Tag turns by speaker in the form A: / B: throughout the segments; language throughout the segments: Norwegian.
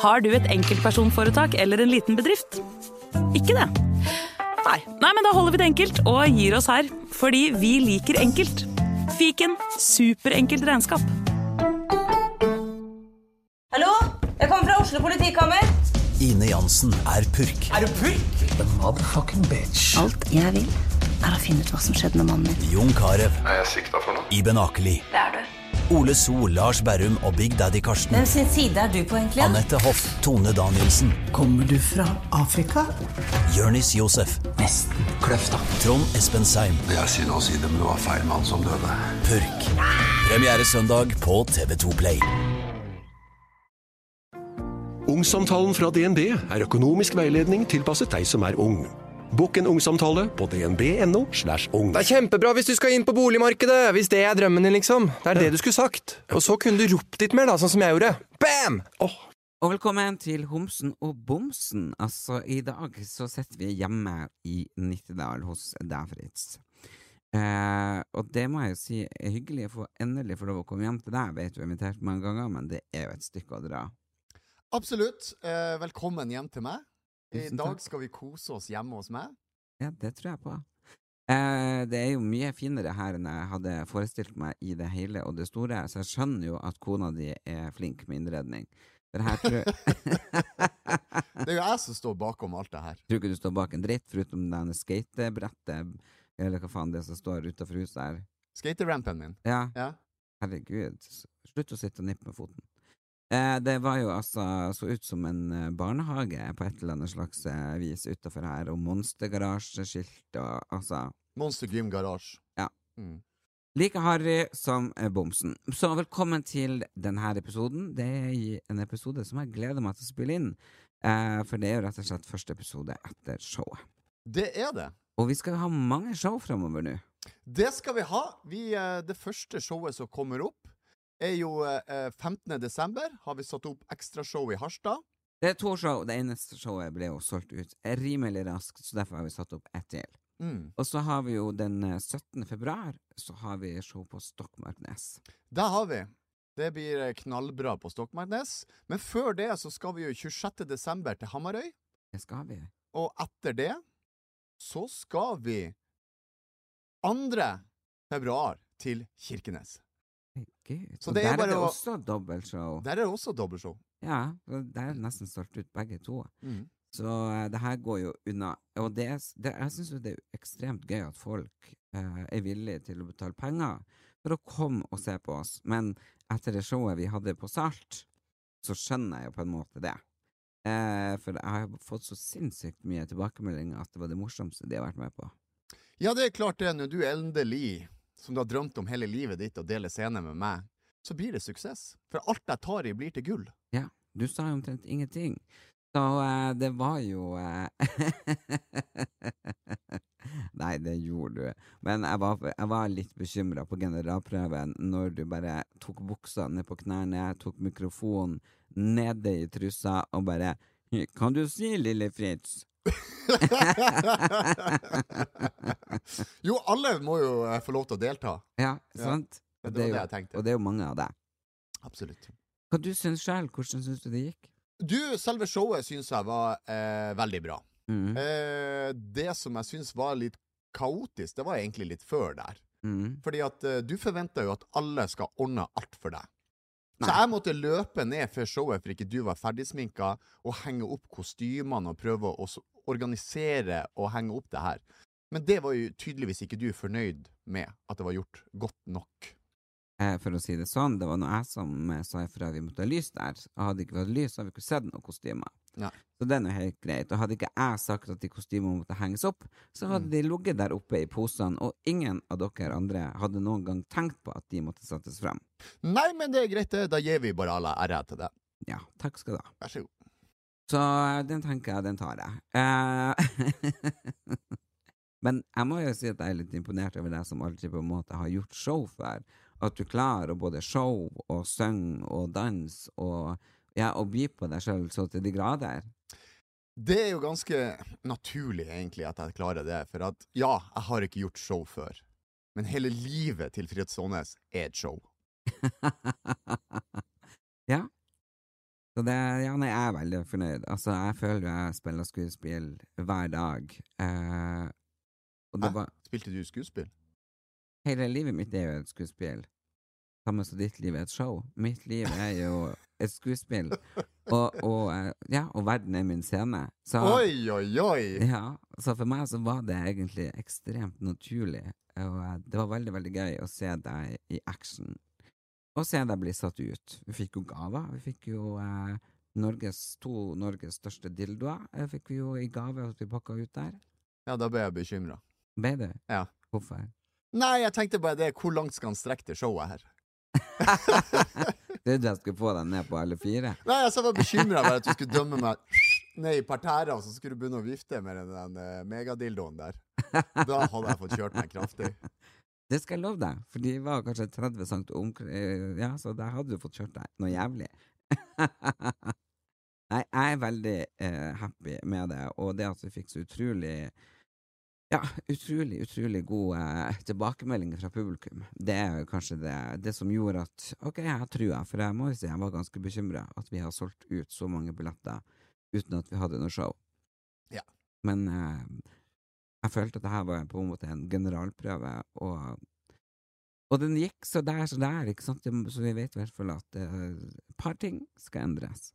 A: Har du et enkeltpersonforetak eller en liten bedrift? Ikke det? Nei. Nei, men da holder vi det enkelt og gir oss her. Fordi vi liker enkelt. Fiken superenkelt regnskap.
B: Hallo? Jeg kommer fra Oslo politikammer.
C: Ine Jansen er purk. Er du purk? The motherfucking bitch.
D: Alt jeg vil, er å finne ut hva som skjedde med mannen min.
C: Jon Carew,
E: Er jeg sikta for noe?
C: Iben Akeli,
D: Det er du.
C: Ole So, Lars Berrum og Big Daddy Karsten.
B: Hvem sin side er du på, egentlig?
C: Anette Hoff, Tone Danielsen,
F: Kommer du fra Afrika?
C: Jørnis Josef,
F: Nesten. Kløfta.
C: Trond Espen Seim,
E: Det er synd å si det, men det var feil mann som døde.
C: Purk. Premiere søndag på TV2 Play.
G: Ungsamtalen fra DNB er økonomisk veiledning tilpasset deg som er ung. Bokk en ungsamtale på dnb.no. slash ung.
H: Det er kjempebra hvis du skal inn på boligmarkedet, hvis det er drømmen din, liksom. Det er det du skulle sagt. Og så kunne du ropt litt mer, da, sånn som jeg gjorde. Bam!
I: Og velkommen til Homsen og Bomsen. Altså, i dag så sitter vi hjemme i Nittedal hos deg, Fritz. Eh, og det må jeg jo si er hyggelig å få endelig få lov å komme hjem til deg. Jeg vet du har invitert mange ganger, men det er jo et stykke å dra.
J: Absolutt. Eh, velkommen hjem til meg. I
I: Tusen
J: dag
I: takk.
J: skal vi kose oss hjemme hos meg.
I: Ja, det tror jeg på. Eh, det er jo mye finere her enn jeg hadde forestilt meg i det hele og det store, så jeg skjønner jo at kona di er flink med innredning. For her tror jeg
J: Det er jo jeg som står bakom alt det her.
I: Tror ikke du står bak en dritt, foruten det skatebrettet, eller hva faen det er som står utafor huset her.
J: Skaterampen min.
I: Ja,
J: Ja.
I: herregud. S- Slutt å sitte og nippe med foten. Eh, det var jo altså så ut som en eh, barnehage på et eller annet slags eh, vis utafor her, og monstergarasjeskilt og altså
J: Monster Gym Garage.
I: Ja.
J: Mm.
I: Like harry som eh, bomsen. Så velkommen til denne episoden. Det er i- en episode som jeg gleder meg til å spille inn, eh, for det er jo rett og slett første episode etter showet.
J: Det er det.
I: Og vi skal jo ha mange show framover nå.
J: Det skal vi ha. Vi, eh, det første showet som kommer opp, er jo eh, 15. desember. Har vi satt opp ekstrashow i Harstad.
I: Det er to show. Det ene showet ble jo solgt ut rimelig raskt, så derfor har vi satt opp ett til.
J: Mm.
I: Og så har vi jo den eh, 17. februar, så har vi show på Stokmarknes.
J: Der har vi. Det blir eh, knallbra på Stokmarknes. Men før det så skal vi jo 26. desember til Hamarøy.
I: Det skal vi.
J: Og etter det så skal vi 2. februar til Kirkenes.
I: Herregud.
J: Så
I: Og
J: det er
I: der
J: jo bare
I: er det
J: å-
I: også dobbeltshow.
J: Der er det også dobbeltshow.
I: Ja, og der er det nesten solgt ut begge to.
J: Mm.
I: Så eh, det her går jo unna. Og det, er s- det, jeg syns jo det er ekstremt gøy at folk eh, er villige til å betale penger for å komme og se på oss. Men etter det showet vi hadde på Salt, så skjønner jeg jo på en måte det. Eh, for jeg har fått så sinnssykt mye tilbakemeldinger at det var det morsomste de har vært med på.
J: Ja, det er klart det. Når du endelig, som du har drømt om hele livet ditt, å dele scene med meg, så blir det suksess. For alt jeg tar i, blir til gull.
I: Du sa jo omtrent ingenting. Så eh, det var jo eh, Nei, det gjorde du. Men jeg var, jeg var litt bekymra på generalprøven når du bare tok buksa ned på knærne, tok mikrofonen nede i trussa og bare Kan du si, lille Fritz?
J: jo, alle må jo eh, få lov til å delta.
I: Ja,
J: Ja,
I: sant?
J: det var
I: Og er
J: det
I: jo-
J: jeg tenkte.
I: Og det er jo mange av deg.
J: Absolutt.
I: Hva du syns sjøl? Hvordan syns du det gikk?
J: Du, selve showet syns jeg var eh, veldig bra.
I: Mm.
J: Eh, det som jeg syns var litt kaotisk, det var egentlig litt før der.
I: Mm.
J: Fordi at eh, du forventer jo at alle skal ordne alt for deg. Så
I: Nei.
J: jeg måtte løpe ned før showet for ikke du var ferdigsminka, og henge opp kostymene og prøve å s- organisere og henge opp det her. Men det var jo tydeligvis ikke du fornøyd med at det var gjort godt nok.
I: Eh, for å si det sånn, det var nå jeg som eh, sa ifra vi måtte ha lys der. Og hadde ikke vært lys, hadde vi ikke sett noen kostymer.
J: Nei.
I: Så det er nå helt greit. Og hadde ikke jeg sagt at de kostymene måtte henges opp, så hadde de ligget der oppe i posene, og ingen av dere andre hadde noen gang tenkt på at de måtte settes frem.
J: Nei, men det er greit, det. Da gir vi bare alle æra til det.
I: Ja, takk skal du ha.
J: Vær så god.
I: Så eh, den tenker jeg, den tar jeg. Eh, Men jeg må jo si at jeg er litt imponert over deg som aldri på en måte har gjort show før. At du klarer å både show og synge og danse og, ja, og by på deg sjøl så til de grader.
J: Det er jo ganske naturlig, egentlig, at jeg klarer det. For at ja, jeg har ikke gjort show før. Men hele livet til Fritz Aanes er et show.
I: ja. Så det, ja, nei, jeg er veldig fornøyd. Altså, jeg føler jo jeg spiller skuespill hver dag. Eh, og det
J: Hæ?
I: var
J: Spilte du skuespill?
I: Hele livet mitt er jo et skuespill. Samme som ditt liv er et show. Mitt liv er jo et skuespill. Og, og, eh, ja, og verden er min scene. Så,
J: Oi, oi, oi!
I: Ja, så for meg så var det egentlig ekstremt naturlig, og eh, det var veldig, veldig gøy å se deg i action, og se deg bli satt ut. Vi fikk jo gaver, vi fikk jo eh, Norges, to Norges største dildoer, eh, fikk vi jo i gave at vi pakket ut der.
J: Ja, da ble jeg bekymra.
I: Ble du?
J: Ja.
I: Hvorfor?
J: Nei, jeg tenkte bare det. Hvor langt skal han strekke det showet her?
I: Du trodde jeg skulle få deg ned på alle fire.
J: Nei, altså, jeg var bekymra for at du skulle dømme meg ned i parterre, og så skulle du begynne å vifte med den, den eh, megadildoen der. Da hadde jeg fått kjørt meg kraftig.
I: Det skal jeg love deg, for de var kanskje 30 cm omkring, eh, ja, så der hadde du fått kjørt deg noe jævlig. Nei, jeg er veldig eh, happy med det, og det at vi fikk så utrolig ja, utrolig, utrolig gode eh, tilbakemeldinger fra publikum. Det er jo kanskje det, det som gjorde at Ok, jeg tror jeg, for jeg må jo si jeg var ganske bekymra at vi har solgt ut så mange billetter uten at vi hadde noe show.
J: Ja.
I: Men eh, jeg følte at det her var på en måte en generalprøve, og og den gikk så der, så der, ikke sant? Det- Så vi vet i hvert fall at eh, et par ting skal endres.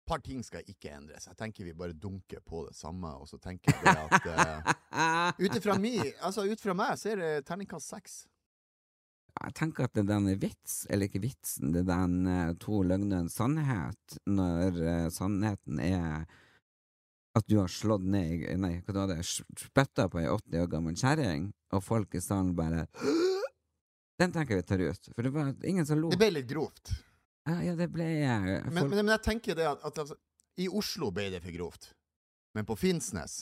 J: Et par ting skal ikke endres. Jeg tenker vi bare dunker på det samme, og så tenker jeg det at eh, Ut ifra mi, altså ut fra meg, så er det terningkast seks.
I: Jeg tenker at det er den vits, eller ikke vitsen, det er den eh, to løgner og en sannhet, når eh, sannheten er at du har slått ned, i- nei, hva det var det, spytta på ei 80 år gammel kjerring, og folk i salen bare Den tenker jeg vi tar ut, for det var ingen som lo.
J: Det ble litt grovt.
I: Ja, ja, det ble eh, folk...
J: Men, men, men jeg tenker det at, at altså, I Oslo ble det for grovt. Men på Finnsnes,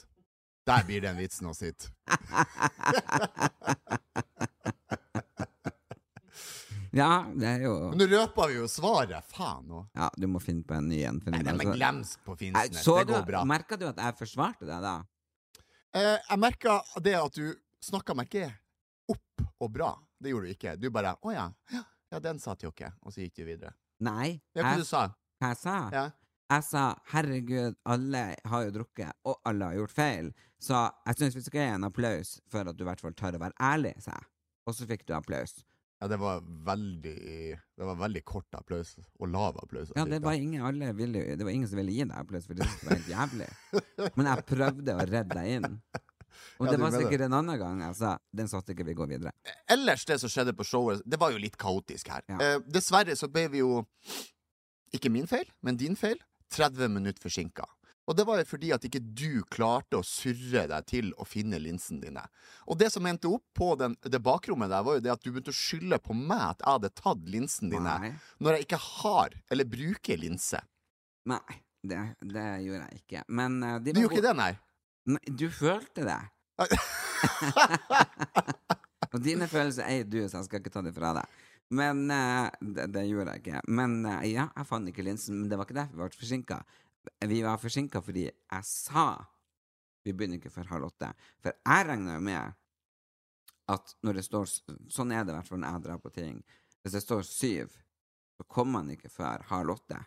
J: der blir den vitsen å sitte.
I: ja, det er jo
J: Men nå røper vi jo svaret, faen òg.
I: Ja, du må finne på en ny en. Finn.
J: Nei, de er
I: Altså,
J: glemsk på
I: nei,
J: Finnsnes.
I: så
J: Det
I: du,
J: går bra.
I: Merka du at jeg forsvarte deg da?
J: Eh, jeg merka det at du snakka meg ikke opp og bra. Det gjorde du ikke. Du bare 'Å ja, ja, ja, den sa til dere', og så gikk du videre.
I: Nei.
J: Det er hva
I: Jeg,
J: du sa.
I: hva jeg sa?
J: Ja.
I: Jeg sa 'herregud, alle har jo drukket, og alle har gjort feil', så jeg syns vi skal gi en applaus for at du i hvert fall tør å være ærlig, sa jeg. Og så fikk du applaus.
J: ja, det var veldig Det var veldig kort applaus, og lav applaus.
I: Ja,
J: jeg
I: det
J: fikk da.
I: var ingen, alle ville, jo- det var ingen som ville gi deg applaus, for det syntes det var helt jævlig. Men jeg prøvde å redde deg inn. Og
J: Ja,
I: det
J: du
I: var
J: mener det.
I: sikkert en annen gang jeg sa 'den satte ikke, vi går videre'.
J: Ellers, det som skjedde på showet, det var jo litt kaotisk her.
I: Ja.
J: Eh, dessverre så ble vi jo Ikke min feil, men din feil. 30 minutter forsinka. Og det var jo fordi at ikke du klarte å surre deg til å finne linsene dine. Og det som endte opp på den, det bakrommet der, var jo det at du begynte å skylde på meg at jeg hadde tatt linsene dine,
I: Nei.
J: når jeg ikke har eller bruker linse.
I: Nei, det, det gjorde jeg ikke. Men eh, de
J: Du
I: var
J: gjorde ikke
I: gode-
J: det, nei?
I: Nei, du følte det. Og dine følelser eier du, så jeg skal ikke ta det fra deg. Men eh, det, det gjorde jeg ikke. Men eh, ja, jeg fant ikke linsen, men det var ikke derfor vi ble forsinka. Vi var forsinka fordi jeg sa vi begynner ikke før halv åtte. For jeg regner jo med at når det står s- Sånn er det i hvert fall når jeg drar på ting. Hvis det står syv, så kommer man ikke før halv åtte.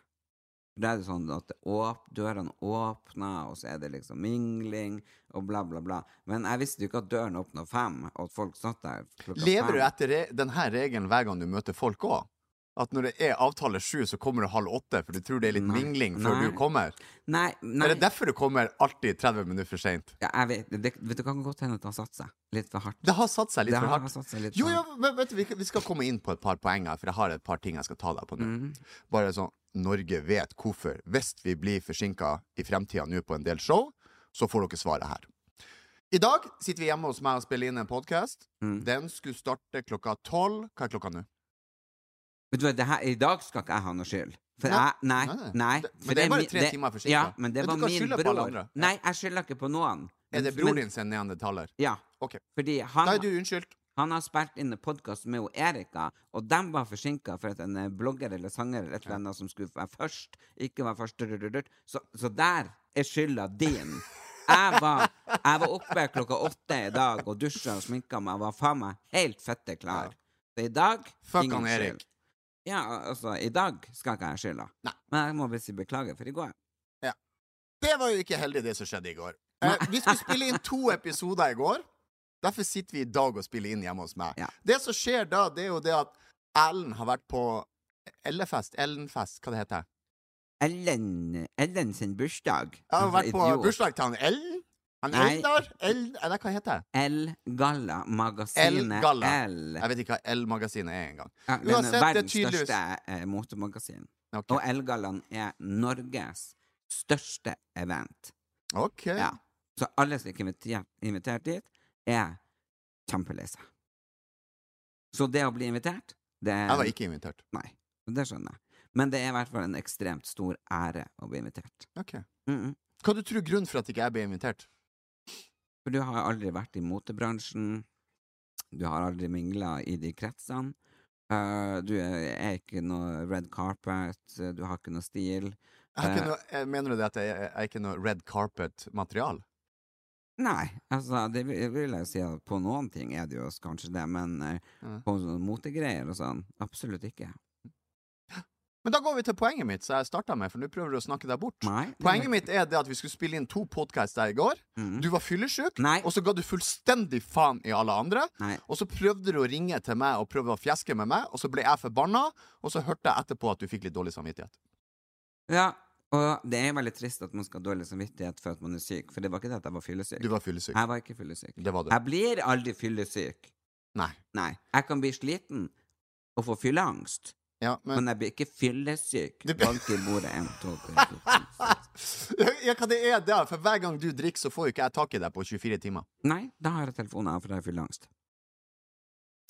I: For Da er det sånn at det åp dørene åpner, og så er det liksom mingling, og bla, bla, bla. Men jeg visste jo ikke at døren åpna fem, og at folk satt der klokka
J: Lever du
I: fem.
J: etter re- denne regelen hver gang du møter folk òg? At når det er avtale sju, så kommer du halv åtte, for du tror det er litt
I: Nei.
J: mingling før
I: Nei.
J: du kommer?
I: Nei, nei.
J: Er det derfor du kommer alltid 30 minutter for seint?
I: ja, jeg vet, det, vet du, kan godt hende at han satte seg litt for hardt.
J: Det har satt seg litt
I: Det
J: for
I: har
J: hardt.
I: satt seg litt
J: Jo,
I: for
J: jo, men vet du, vi, vi skal komme inn på et par poeng her, for jeg har et par ting jeg skal ta deg på nå.
I: Mhm.
J: Bare sånn, Norge vet hvorfor. Hvis vi blir forsinka i fremtida nå på en del show, så får dere svaret her. I dag sitter vi hjemme hos meg og spiller inn en podkast.
I: Mm.
J: Den skulle starte klokka tolv. Hva er klokka nå?
I: Vet du hva, det her, I dag skal ikke jeg ha noe skyld. For
J: Nei.
I: jeg, nei,
J: Nei, nei.
I: nei.
J: Det-
I: for
J: men det er bare
I: min-
J: tre timer forsinket.
I: Ja, men det
J: Men
I: var
J: du kan
I: min
J: skylde på
I: bror.
J: alle andre. Ja.
I: Nei, jeg skylder ikke på noen.
J: Er det
I: Men-
J: broren din sin neandertaler?
I: Ja.
J: Ok.
I: Fordi
J: Da
I: han,
J: er du unnskyldt.
I: han har spilt inn en podkast med hun Erika, og de var forsinka for at en eh, blogger eller sanger eller et eller annet som skulle være først, ikke var først. drudrudrud. Så, så der er skylda din. Jeg var, jeg var oppe klokka åtte i dag og dusja og sminka meg og var faen meg helt fette klar. Så i dag
J: Fuck
I: ingen
J: han
I: skyld.
J: Erik.
I: Ja, altså, i dag skal ikke jeg skylda.
J: Nei.
I: Men jeg må bare si beklager for i går.
J: Det var jo ikke heldig, det som skjedde i går. Eh, vi skulle spille inn to episoder i går. Derfor sitter vi i dag og spiller inn hjemme hos meg.
I: Ja.
J: Det som skjer da, det er jo det at Ellen har vært på Ellefest, Ellenfest, hva det heter det?
I: Ellen, Ellen sin bursdag.
J: Jeg har
I: Altså,
J: vært på
I: idiot.
J: bursdag til han Ellen. Han
I: Nei.
J: Eldar? El, eller hva heter det?
I: El-galla. Magasinet
J: El-galla.
I: El.
J: Jeg vet ikke hva El-magasinet er engang.
I: Ja, men
J: Uansett, det er
I: verdens
J: tydeligvis-
I: største eh, motemagasin.
J: Ok.
I: Og Elgallaen er Norges største event.
J: OK.
I: Ja. Så alle som ikke er invitert- invitert dit, er kjempelei seg. Så det å bli invitert, det er
J: Jeg var ikke invitert.
I: Nei. Det skjønner jeg. Men det er i hvert fall en ekstremt stor ære å bli invitert.
J: Ok.
I: Mm -mm.
J: Hva du tror grunnen for at ikke jeg ble invitert?
I: For du har aldri vært i motebransjen, du har aldri mingla i de kretsene, eh, du er er ikke noe red carpet, eh, du har ikke noe stil.
J: Jeg har ikke
I: Eh.
J: noe, jeg mener du det at jeg, jeg er ikke noe red carpet-material?
I: Nei, altså, det vil vil jeg si at på noen ting er det jo kanskje det, men eh,
J: Mm.
I: på sånne motegreier og sånn, absolutt ikke.
J: Men da går vi til poenget mitt, som jeg starta med, for nå prøver du å snakke deg bort.
I: Nei. det er
J: Poenget
I: ikke-
J: mitt er det at vi skulle spille inn to podcaster i går.
I: Mm.
J: Du var fyllesyk,
I: Nei.
J: og så ga du fullstendig faen i alle andre.
I: Nei.
J: Og så prøvde du å ringe til meg og prøve å fjeske med meg, og så ble jeg forbanna, og så hørte jeg etterpå at du fikk litt dårlig samvittighet.
I: Ja, og det er jo veldig trist at man skal ha dårlig samvittighet for at man er syk, for det var ikke det at jeg var fyllesyk.
J: Du var fyllesyk.
I: Jeg var ikke fyllesyk.
J: Det var du.
I: Jeg blir aldri fyllesyk.
J: Nei.
I: Nei. Jeg kan bli sliten og få fylleangst,
J: Ja, men
I: men jeg blir ikke fyllesyk.
J: Det-
I: Bank i bordet en, to, tre, fire, fem, seks.
J: ja, hva det er det? For hver gang du drikker, så får jo ikke jeg tak i deg på 24 timer.
I: Nei, da har jeg telefonen av, for da har jeg fylleangst.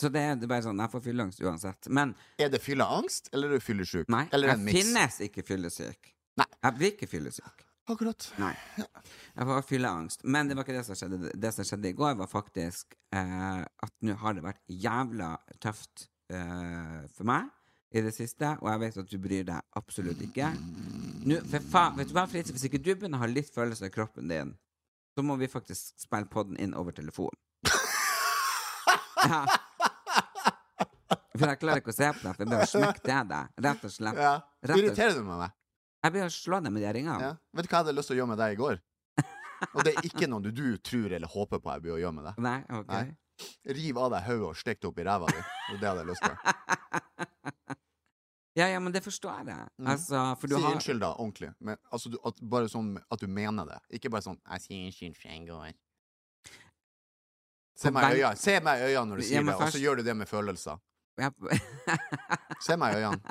I: Så det er det er bare sånn, jeg får fylleangst uansett. Men
J: Er det fylleangst, eller er du fyllesyk?
I: nei,
J: Eller
I: jeg
J: en miks?
I: finnes ikke fyllesyk.
J: Nei.
I: Jeg blir ikke fyllesyk.
J: Akkurat.
I: Nei. Jeg var fylleangst. Men det var ikke det som skjedde. Det som skjedde i går, var faktisk eh, at nå har det vært jævla tøft eh, for meg i det siste, og jeg vet at du bryr deg absolutt ikke. Nå, for faen, vet du hva, Fritz, hvis ikke du begynner å ha litt følelse i kroppen din, så må vi faktisk spille podden inn over telefon. Ja. For jeg klarer ikke å se på deg, for jeg blir å smekke til deg, rett og slett.
J: Ja.
I: Rett og-
J: Irriterer du meg med meg?
I: Jeg blir å slå deg med de ringene.
J: Ja. Vet du hva jeg hadde lyst til å gjøre med deg i går? Og det er ikke noe du, du tror eller håper på jeg blir å gjøre med deg.
I: Nei, ok.
J: Nei. Riv av deg hodet og stikk det opp i ræva di. Det er det jeg hadde lyst til.
I: Ja, ja, men det forstår jeg.
J: Mhm.
I: Altså, for du
J: Si
I: har
J: unnskyld, da, ordentlig. Men, altså, du, at, bare sånn at du mener det. Ikke bare sånn 'Jeg sier unnskyld for jeg går'. Se
I: På
J: meg i
I: vei-
J: øynene Se meg i øynene når du
I: Ja,
J: sier
I: men
J: det, og
I: først-
J: så gjør du det med følelser.
I: Ja,
J: Se meg i øynene.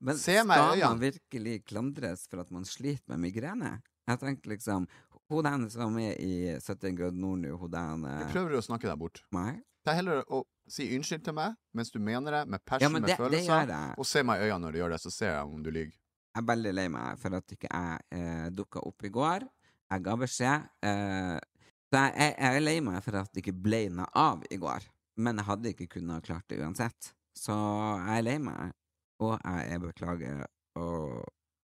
I: Men
J: Se
I: skal
J: meg i øynene.
I: man virkelig klandres for at man sliter med migrene? Jeg tenker liksom Hun den som er i 70 grad nord nå, hun den
J: Du
I: eh,
J: prøver å snakke deg bort.
I: meg
J: Det er heller å si unnskyld til meg mens du mener det, med
I: Ja,
J: passion,
I: men
J: med
I: det, det gjør
J: følelser,
I: jeg.
J: og se meg i øynene når du gjør det, så ser jeg om du lyver.
I: Jeg er veldig lei meg for at ikke jeg eh, dukka opp i går. Jeg ga beskjed. Eh, så jeg, jeg, jeg er lei meg for at det ikke ble noe av i går. Men jeg hadde ikke kunnet ha klart det uansett. Så jeg er lei meg, og jeg er beklager. Og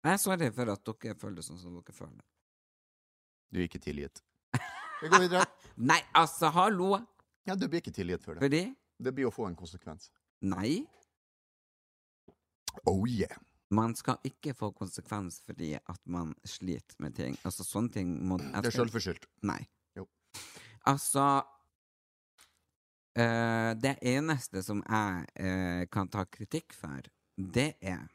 I: jeg er sorry for at dere føler det sånn som dere føler.
J: Du er ikke tilgitt. Vi går videre.
I: Nei, altså, hallo!
J: Ja, du blir ikke tilgitt for det.
I: Fordi
J: Det blir å få en konsekvens.
I: Nei,
J: Oh yeah.
I: man skal ikke få konsekvens fordi at man sliter med ting. Altså, sånne ting må jeg
J: Det er
I: skal-
J: sjølforskyldt.
I: Nei.
J: Jo.
I: Altså eh, Det eneste som jeg eh, kan ta kritikk for, det er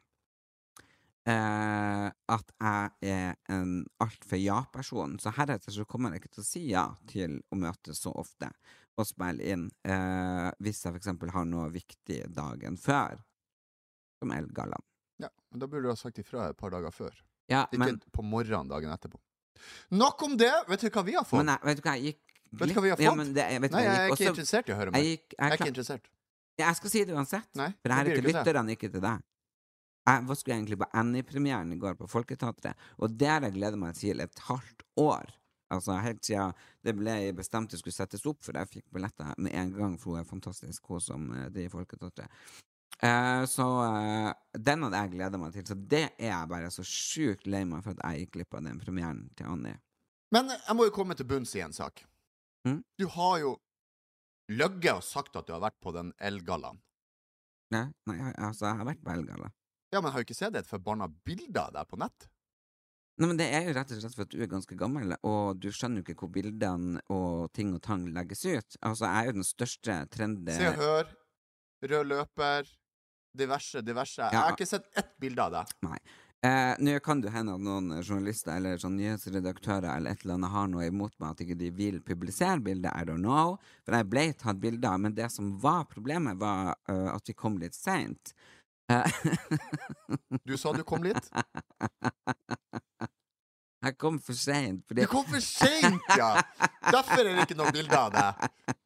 I: eh, at jeg er en altfor ja-person. Så heretter så kommer jeg ikke til å si ja til å møtes så ofte og spille inn eh, hvis jeg for eksempel har noe viktig dagen før, som Elgallaen.
J: Ja, men da burde du ha sagt ifra et par dager før.
I: Ja,
J: Ikke
I: men,
J: på morgenen dagen etterpå. Nok om det! Vet du hva vi har fått?
I: men jeg, vet du hva, jeg gikk
J: Vet du hva vi har
I: glipp- Ja,
J: fått?
I: men det, jeg, vet du
J: Nei,
I: hva,
J: jeg er
I: gikk
J: ikke
I: også-
J: interessert i å høre
I: Jeg,
J: mer.
I: gikk,
J: Jeg
I: jeg,
J: er ikke
I: klar-
J: interessert.
I: Ja, Jeg skal si det uansett.
J: Nei,
I: For det
J: det
I: her
J: blir
I: er til
J: ikke det.
I: lytterne, ikke til deg. Jeg var- skulle egentlig på Annie-premieren i går på Folketeatret, og det har jeg gleda meg til et halvt år. Altså helt siden det ble bestemt det skulle settes opp, for jeg fikk billetter med en gang, for hun er fantastisk, hun som eh, driver Folketeatret. Eh, så eh, den hadde jeg gleda meg til, så det er jeg bare så sjukt lei meg for at jeg gikk glipp av den premieren til Annie.
J: Men jeg må jo komme til bunns i en sak.
I: Mm.
J: Du har jo løgget og sagt at du har vært på den elgallaen.
I: Nei, nei, jeg- altså, jeg har vært belga, da.
J: Ja, men jeg har jo ikke sett et forbanna bilde av deg på nett.
I: Nei, men det er jo rett og slett for at du er ganske gammel, og du skjønner jo ikke hvor bildene og ting og tang legges ut. Altså, jeg er jo den største trendy
J: Se og hør, rød løper, diverse, diverse. Jeg
I: Ja.
J: har ikke sett ett bilde av deg.
I: Nei. Eh, Nå kan det jo hende at noen journalister eller sånn nyhetsredaktører eller et eller annet har noe imot meg at ikke de vil publisere bildet, I don't know, for jeg ble tatt bilder, av, men det som var problemet, var eh, at vi kom litt seint.
J: Du sa du kom litt.
I: Jeg kom for seint,
J: Du
I: fordi
J: kom for seint, ja! Derfor er det ikke noe bilde av deg.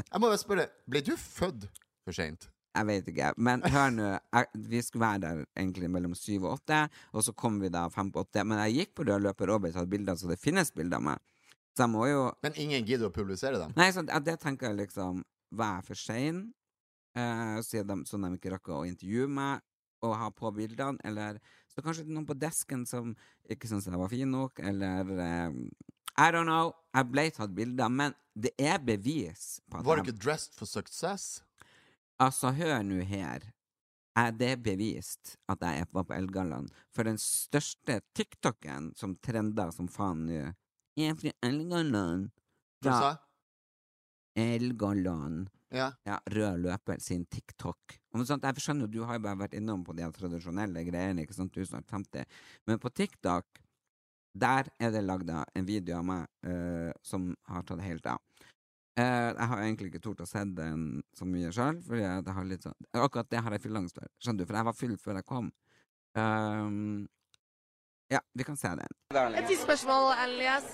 J: Jeg må bare spørre, ble du født for seint?
I: Jeg vet ikke, men hør nå. jeg- Vi skulle være der egentlig mellom syv og åtte, og så kom vi da fem på åtte. Men jeg gikk på rød løper og ble tatt bilder, så det finnes bilder av meg. Så jeg må jo
J: Men ingen gidder å publisere dem.
I: Nei, så det, det tenker jeg liksom Var jeg for sein? Eh, så de, sånn de ikke rakk å intervjue meg og ha på bildene, eller så kanskje det er noen på desken som ikke syntes jeg var fin nok, eller eh, I don't know. Jeg ble tatt bilder, men det er bevis på at
J: Var
I: jeg-
J: du ikke dressed for success?
I: Altså, hør nå her. Er det bevist at jeg var på Elgallaen? For den største TikTok-en som trender som faen nå, er fra Elgallaen.
J: Hva sa
I: Fra
J: jeg?
I: Elgallaen.
J: Ja.
I: Ja, Rød Løper sin TikTok. Og sånt, jeg skjønner jo, du har jo bare vært innom på de her tradisjonelle greiene, ikke sant, du er snart 50, men på TikTok, der er det lagd av en video av meg eh, som har tatt helt av. Eh, jeg har egentlig ikke tort å se den så mye sjøl, fordi jeg det har litt sånn Akkurat det har jeg fylleangst for, skjønner du, for jeg var full før jeg kom. Ehm, ja, vi kan se den.
K: Et siste spørsmål, Elias.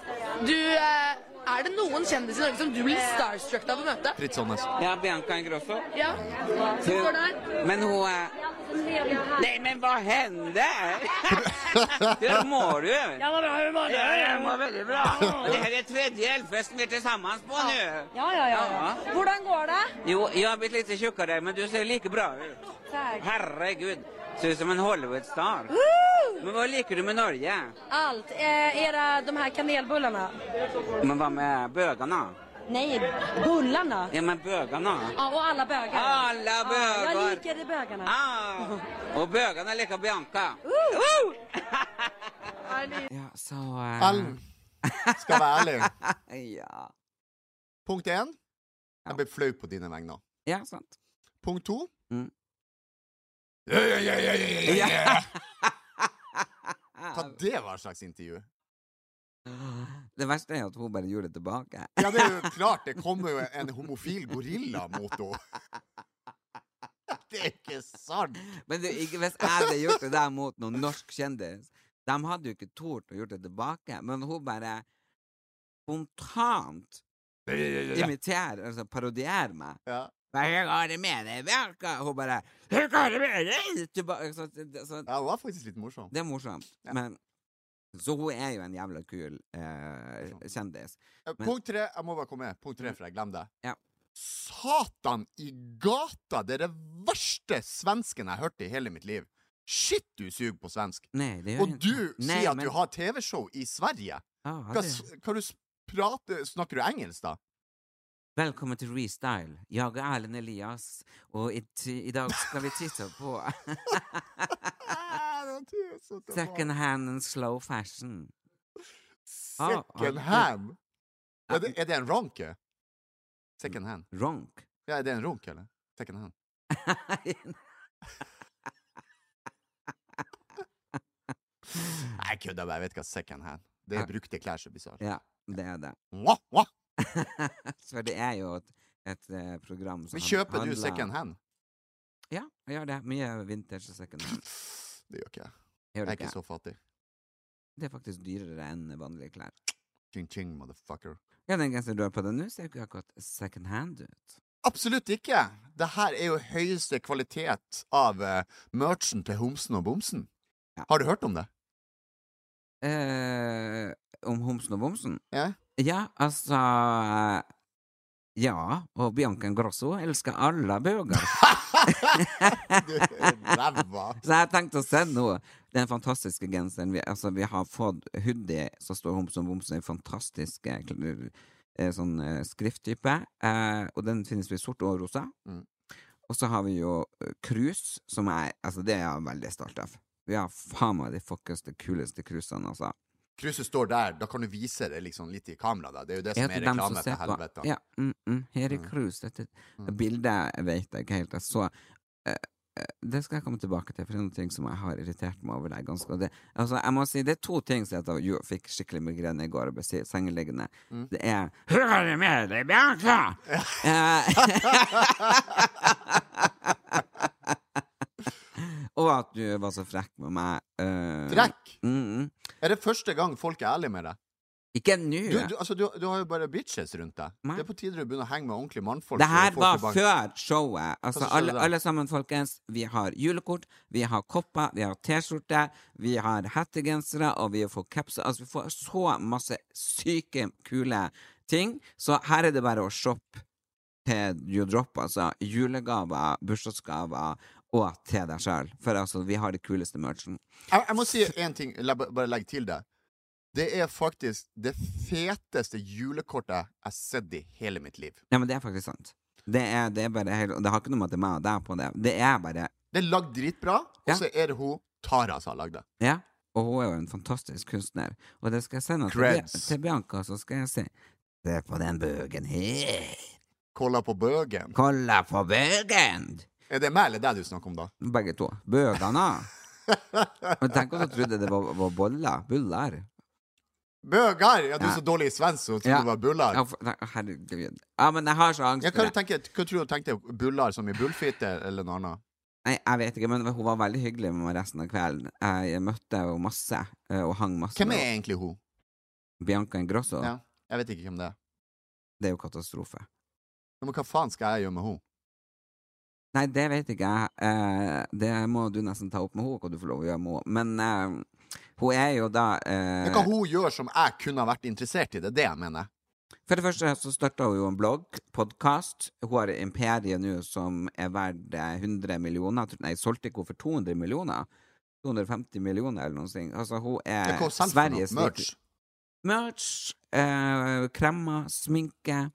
K: Du, eh, er det noen kjendiser i Norge som du blir starstruck av å møte?
J: Fritz Aanes.
I: Ja, Bianca Ingrosso.
K: Ja. Som
I: Hun-
K: står der.
I: Men hun er Nei, men hva hender? Hur mår du? Ja,
L: vad bra. Hur mår du?
I: jag mår väldigt bra. Det här är tredje elfesten vi är tillsammans på nu.
L: Ja, ja, ja. Hvordan går det?
I: Jo, jag har blivit lite tjockare, men du ser lika bra ut.
L: Tack.
I: Herregud, ser ut som en Hollywood-star.
L: Uh.
I: Men vad liker du med Norge?
L: Alt. Eh, era, de här kanelbullarna.
I: Men vad med bögarna?
L: Nej, bullarna.
I: Ja, men bögarna.
L: Ja, och alla bögar.
I: Alla bögar.
L: Ja, jag liker bögarna.
I: Ah. Och bögarna likar Bianca.
L: Woo!
I: Ja, så... eh,
J: Ellen, skal være ærlig.
I: Ja.
J: Punkt én, jeg ble flau på dine vegne.
I: Ja, sant.
J: Punkt to
I: Mm.
J: Ja, ja, ja, ja, ja, ja, ja, ja. Hva det var slags intervju?
I: Det verste er jo at hun bare gjorde det tilbake.
J: Ja, det er jo klart, det kommer jo en homofil gorilla mot henne. Det er ikke sant!
I: Men du, ikke, hvis jeg hadde gjort det der mot noen norsk kjendis De hadde jo ikke tort å gjort det tilbake, men eh, hun bare spontant imiterer, altså parodierer meg.
J: Ja.
I: Hva har det med deg, Bianca? Hun bare Hva har det med deg? Tilba- ikke sant? Det- så,
J: Ja, hun var faktisk litt morsom.
I: det er morsomt. Men Så hun er jo en jævla kul eh, kjendis.
J: Eh,
I: Men-
J: Punkt tre, jeg må bare komme med. Punkt tre, for jeg glemte det.
I: Ja.
J: Satan i gata! Det er det verste svensken jeg har hørt i hele mitt liv. Shit, du suger på svensk.
I: Nei, det gjør
J: Og
I: hun-
J: du
I: Nei,
J: sier at
I: men-
J: du har TV-show i Sverige.
I: Ah,
J: Hva,
I: det-
J: s- hva du s- prater, snakker du engelsk, da?
I: Velkommen til Restyle. Jeg er Erlend Elias, og i, t i dag skal vi titte på second hand and slow fashion. Ah,
J: Second
I: ah,
J: hand? Er det, er det en ranke? Second hand?
I: Ronk.
J: Ja, er det en runk, eller? Second hand? Nei, jeg kødder bare. Jeg vet hva second hand Det er brukte klær så bisarr.
I: Ja, det er det.
J: Mwah, mwah.
I: For det er jo et, et eh, program som
J: Men kjøper du
I: handler-
J: second hand?
I: Ja, jeg gjør det. Mye vintage second hand.
J: Det gjør ikke jeg.
I: Gjør
J: Jeg
I: du
J: er ikke
I: ikke?
J: så fattig.
I: Det er faktisk dyrere enn vanlige klær.
J: Ching, ching, motherfucker.
I: Ja, den genseren du har på deg nå, ser jo ikke akkurat second hand ut.
J: Absolutt ikke! Det her er jo høyeste kvalitet av eh, merchen til Homsen og Bomsen. Har du hørt om det?
I: Eh, om homsen og bomsen?
J: Ja.
I: Ja, altså Ja, og Bianca Grosso elsker alle bøker.
J: Du er ræva!
I: Så jeg tenkte å sende henne den fantastiske genseren. Vi, altså, vi har fått hoodie som står homsen og bomsen i fantastisk eh, kl- eh, sånn eh, skrifttype. Eh, og den finnes jo i sort og rosa.
J: Mm.
I: Og så har vi jo eh, cruise, som er Altså, det er jeg veldig stolt av. Vi har faen meg de fuckeste, kuleste cruisene, altså.
J: Krysset står der, da kan du vise det liksom litt i kamera. Da. Det er jo det
I: Ja,
J: som
I: til
J: er
I: dem som
J: reklame
I: ser
J: for
I: på.
J: helvete. Mm.
I: Ja, mm, mm, her er cruise. Dette bildet jeg vet jeg ikke helt jeg så. Eh, eh, Det skal jeg komme tilbake til, for det er noen ting som jeg har irritert meg over. Det, ganske, og det, altså, jeg må si, det er to ting som jeg jo- fikk skikkelig migrene i går og ble si- sengeliggende.
M: Mm.
I: Det er Hører du med deg, Bianca? Eh, og at du var så frekk med meg. eh,
J: Frekk?
I: Mm, mm.
J: Er det første gang folk er ærlige med deg?
I: Ikke nå.
J: Du, du, altså, du, du har jo bare bitches rundt deg. Det er på tide du begynner å henge med ordentlige mannfolk.
I: Det
J: så
I: her
J: folk
I: var
J: tilbake-
I: før showet. Altså,
J: som skjedde
I: alle,
J: der?
I: alle sammen, folkens. Vi har julekort, vi har kopper, vi har T-skjorte, vi har hettegensere, og vi får capser. Altså, vi får så masse syke, kule ting. Så her er det bare å shoppe til you drop, altså. Julegaver, bursdagsgaver og til deg sjøl. For altså, vi har det kuleste merchen.
J: Jeg, jeg må si én ting, la, bare legg til det. Det er faktisk det feteste julekortet jeg har sett i hele mitt liv.
I: Ja, men det er faktisk sant. Det er, det er bare helt Og det har ikke noe med at det er meg og deg på det. Det er bare
J: Det er lagd dritbra, og så er det hun Tara som har lagd det.
I: Ja, og hun er jo en fantastisk kunstner. Og det skal jeg sende til,
J: Creds.
I: Bi- til Bianca, så skal jeg si Se på den bøgen her.
J: Kolla på bøgen.
I: Kolla på bøgen!
J: Er det meg eller deg du snakker om, da?
I: Begge to. Bøgene. Men tenk om du trodde det var, var boller. Buller.
J: Bøger! Ja, du er
I: Ja.
J: så dårlig i svensk, så tror
I: Ja.
J: du det var bullar.
I: Ja, for- nei, herregud. Ja, men jeg har så angst
J: Ja,
I: for
J: hva,
I: det.
J: tenker, hva tror du tenkte bullar som i bullfitte eller noe annet?
I: Nei, jeg vet ikke, men hun var veldig hyggelig med meg resten av kvelden. Jeg møtte henne masse, eh, og hang masse
J: Hvem
I: med
J: er
I: henne.
J: egentlig hun?
I: Bianca Ingrosso.
J: Ja, jeg vet ikke hvem det er.
I: Det er jo katastrofe.
J: Men hva faen skal jeg gjøre med hun?
I: Nei, det vet ikke jeg. Eh, det må du nesten ta opp med henne, hva du får lov å gjøre med henne. Men eh, hun er jo da eh,
J: Men Hva hun gjør som jeg kunne ha vært interessert i, det er det jeg mener.
I: For det første så starta hun jo en blogg, podkast. Hun har Imperiet nå som er verdt eh, 100 millioner. Tror- Nei, solgte ikke hun for 200 millioner? 250 millioner eller noe sånt. Altså, hun er
J: Det er hva hun selger for noe.
I: Sveriges
J: Merch.
I: Merch, eh, kremmer, sminke.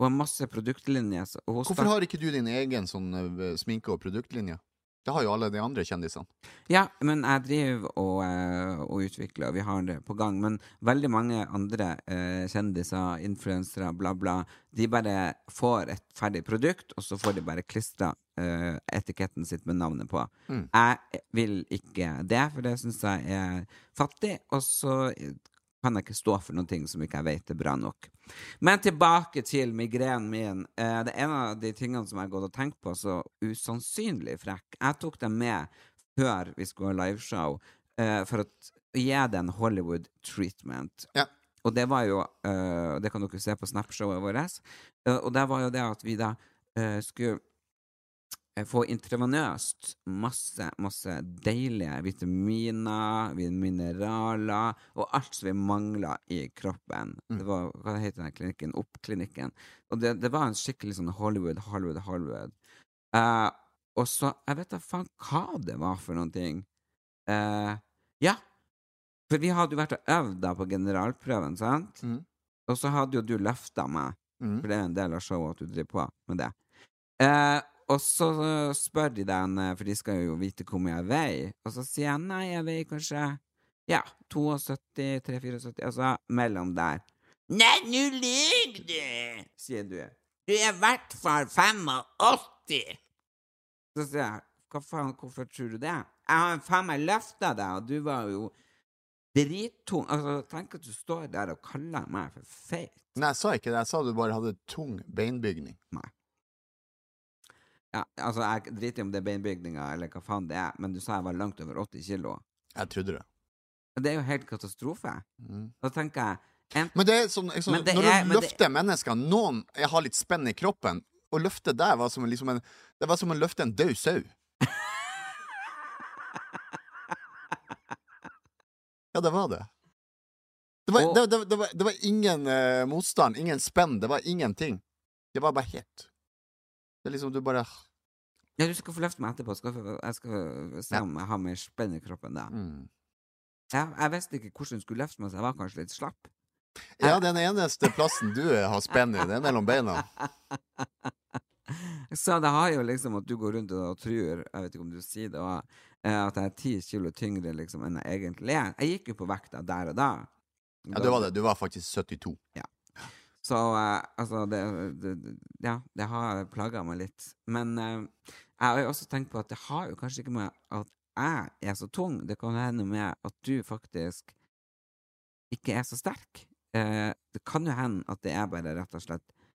I: Hun har masse produktlinjer. så- og hun
J: Hvorfor
I: start-
J: har ikke du din egen sånn eh, sminke- og produktlinje? Det har jo alle de andre kjendisene.
I: Ja, men jeg driver og, eh, og utvikler, og vi har det på gang. Men veldig mange andre eh, kjendiser, influensere, bla, bla, de bare får et ferdig produkt, og så får de bare klistra eh, etiketten sitt med navnet på.
M: Mm.
I: Jeg vil ikke det, for det syns jeg er fattig, og så kan jeg ikke stå for noen ting som ikke jeg vet er bra nok. Men tilbake til migrenen min. Eh, det er en av de tingene som jeg har gått og tenkt på, så usannsynlig frekk. Jeg tok dem med før vi skulle ha liveshow, eh, for å t- gi det en Hollywood treatment. Og det var jo eh, Det kan dere se på Snapshowet vårt. Eh, og det var jo det at vi da eh, skulle eh, få intravenøst masse, masse deilige vitaminer, vi- mineraler og alt som vi mangla i kroppen. Det var, hva heter den klinikken? Oppklinikken. Og det, det var en skikkelig sånn Hollywood, Hollywood, Hollywood. Eh, og så Jeg vet da faen hva det var for noen ting. Eh, ja, for vi hadde jo vært og øvd da på generalprøven, sant? Og så hadde jo du løfta meg,
J: Mhm.
I: for det er en del av showet at du driver på med det. Eh, og så spør de den, eh, for de skal jo vite hvor mye jeg veier, og så sier jeg nei, jeg veier kanskje ja, 72-74, altså mellom der. Nei, nå lyver du! Sier du. Du er i hvert fall 85! Så sier jeg, hva faen, hvorfor tror du det? Jeg har faen meg løfta deg, og du var jo drittung. Altså, tenk at du står der og kaller meg for feit.
J: Nei, jeg sa ikke det. Jeg sa du bare hadde tung beinbygning.
I: Nei. Ja, altså, jeg driter i om det er beinbygninga eller hva faen det er, men du sa jeg var langt over 80 kilo.
J: Jeg trodde det.
I: Det er jo helt katastrofe. Da tenker jeg
J: Men det er sånn, jeg- sånn
I: Men det
J: Når
I: er-
J: du
I: men det-
J: løfter mennesker Noen jeg har litt spenn i kroppen. Å løfte deg var som en- liksom en Det var som å løfte en død sau. Ja, det var det. Det var, det, det, det var, det var ingen eh, motstand, ingen spenn, det var ingenting. Det var bare helt Det er liksom du bare
I: Ja, du skal få løfte meg etterpå. Skal, få- jeg skal se om jeg har mer spenn i kroppen
J: Mm.
I: da. Jeg, jeg visste ikke hvordan du skulle løfte meg, så jeg var kanskje litt slapp.
J: eh, Ja, den eneste plassen du har spenn i, det er mellom beina.
I: Jeg Så det har jo liksom at du går rundt og tror, jeg vet ikke om du sier det, og, eh, at jeg er ti kilo tyngre liksom enn jeg egentlig er. Jeg gikk jo på vekta der og da.
J: Ja, du var det. Du var faktisk 72.
I: Ja. Så eh, altså det, det, det- Ja, det har plaga meg litt. Men eh, jeg har jo også tenkt på at det har jo kanskje ikke med at jeg er så tung, det kan hende med at du faktisk ikke er så sterk. Eh, det kan jo hende at det er bare rett og slett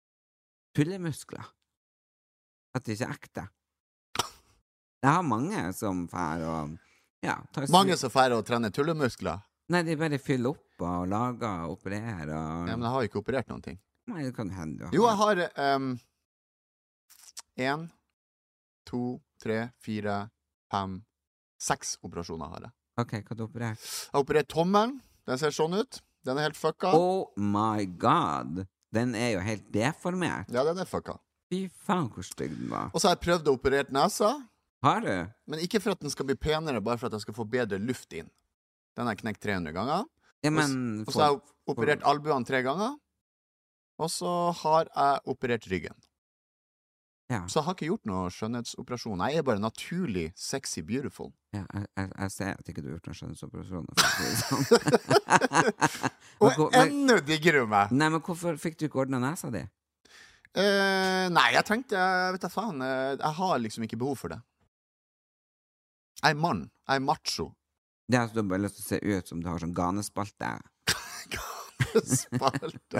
I: tullemuskler. At det ikke er ekte. Jeg har mange som fær og ja, tar
J: Mange som drar og trener tullemuskler.
I: Nei, de bare fyller opp og lager og opererer og
J: Ja, men jeg har jo ikke operert noen ting.
I: Nei, det kan hende du har
J: Jo, jeg har ehm, én, to, tre, fire, fem, seks operasjoner har jeg.
I: OK, hva har du operert?
J: Jeg har operert tommelen. Den ser sånn ut. Den er helt fucka.
I: Oh my god! Den er jo helt deformert.
J: Ja, den er fucka.
I: Fy faen, hvor stygg den var.
J: Og så har jeg prøvd å operere nesa,
I: Har du?
J: men ikke for at den skal bli penere, bare for at jeg skal få bedre luft inn. Den har jeg knekt 300 ganger.
I: Ja,
J: Og s-
I: men
J: og
I: får-
J: så har jeg operert albuene tre ganger. Og så har jeg operert ryggen. Så jeg har ikke gjort noe skjønnhetsoperasjon. Jeg er bare naturlig sexy beautiful.
I: Ja, jeg, jeg, jeg ser at ikke du har gjort noen skjønnhetsoperasjon. for å si det sånn. Men hvor- men-
J: Enda diggere med meg!
I: Nei, men hvorfor fikk du ikke ordna nesa di?
J: Eh, nei, jeg tenkte jeg Vet da faen. eh, Jeg har liksom ikke behov for det. Jeg er mann. Jeg er macho.
I: Det er at du har bare lyst til å se ut som du har sånn ganespalte.
J: Spalte.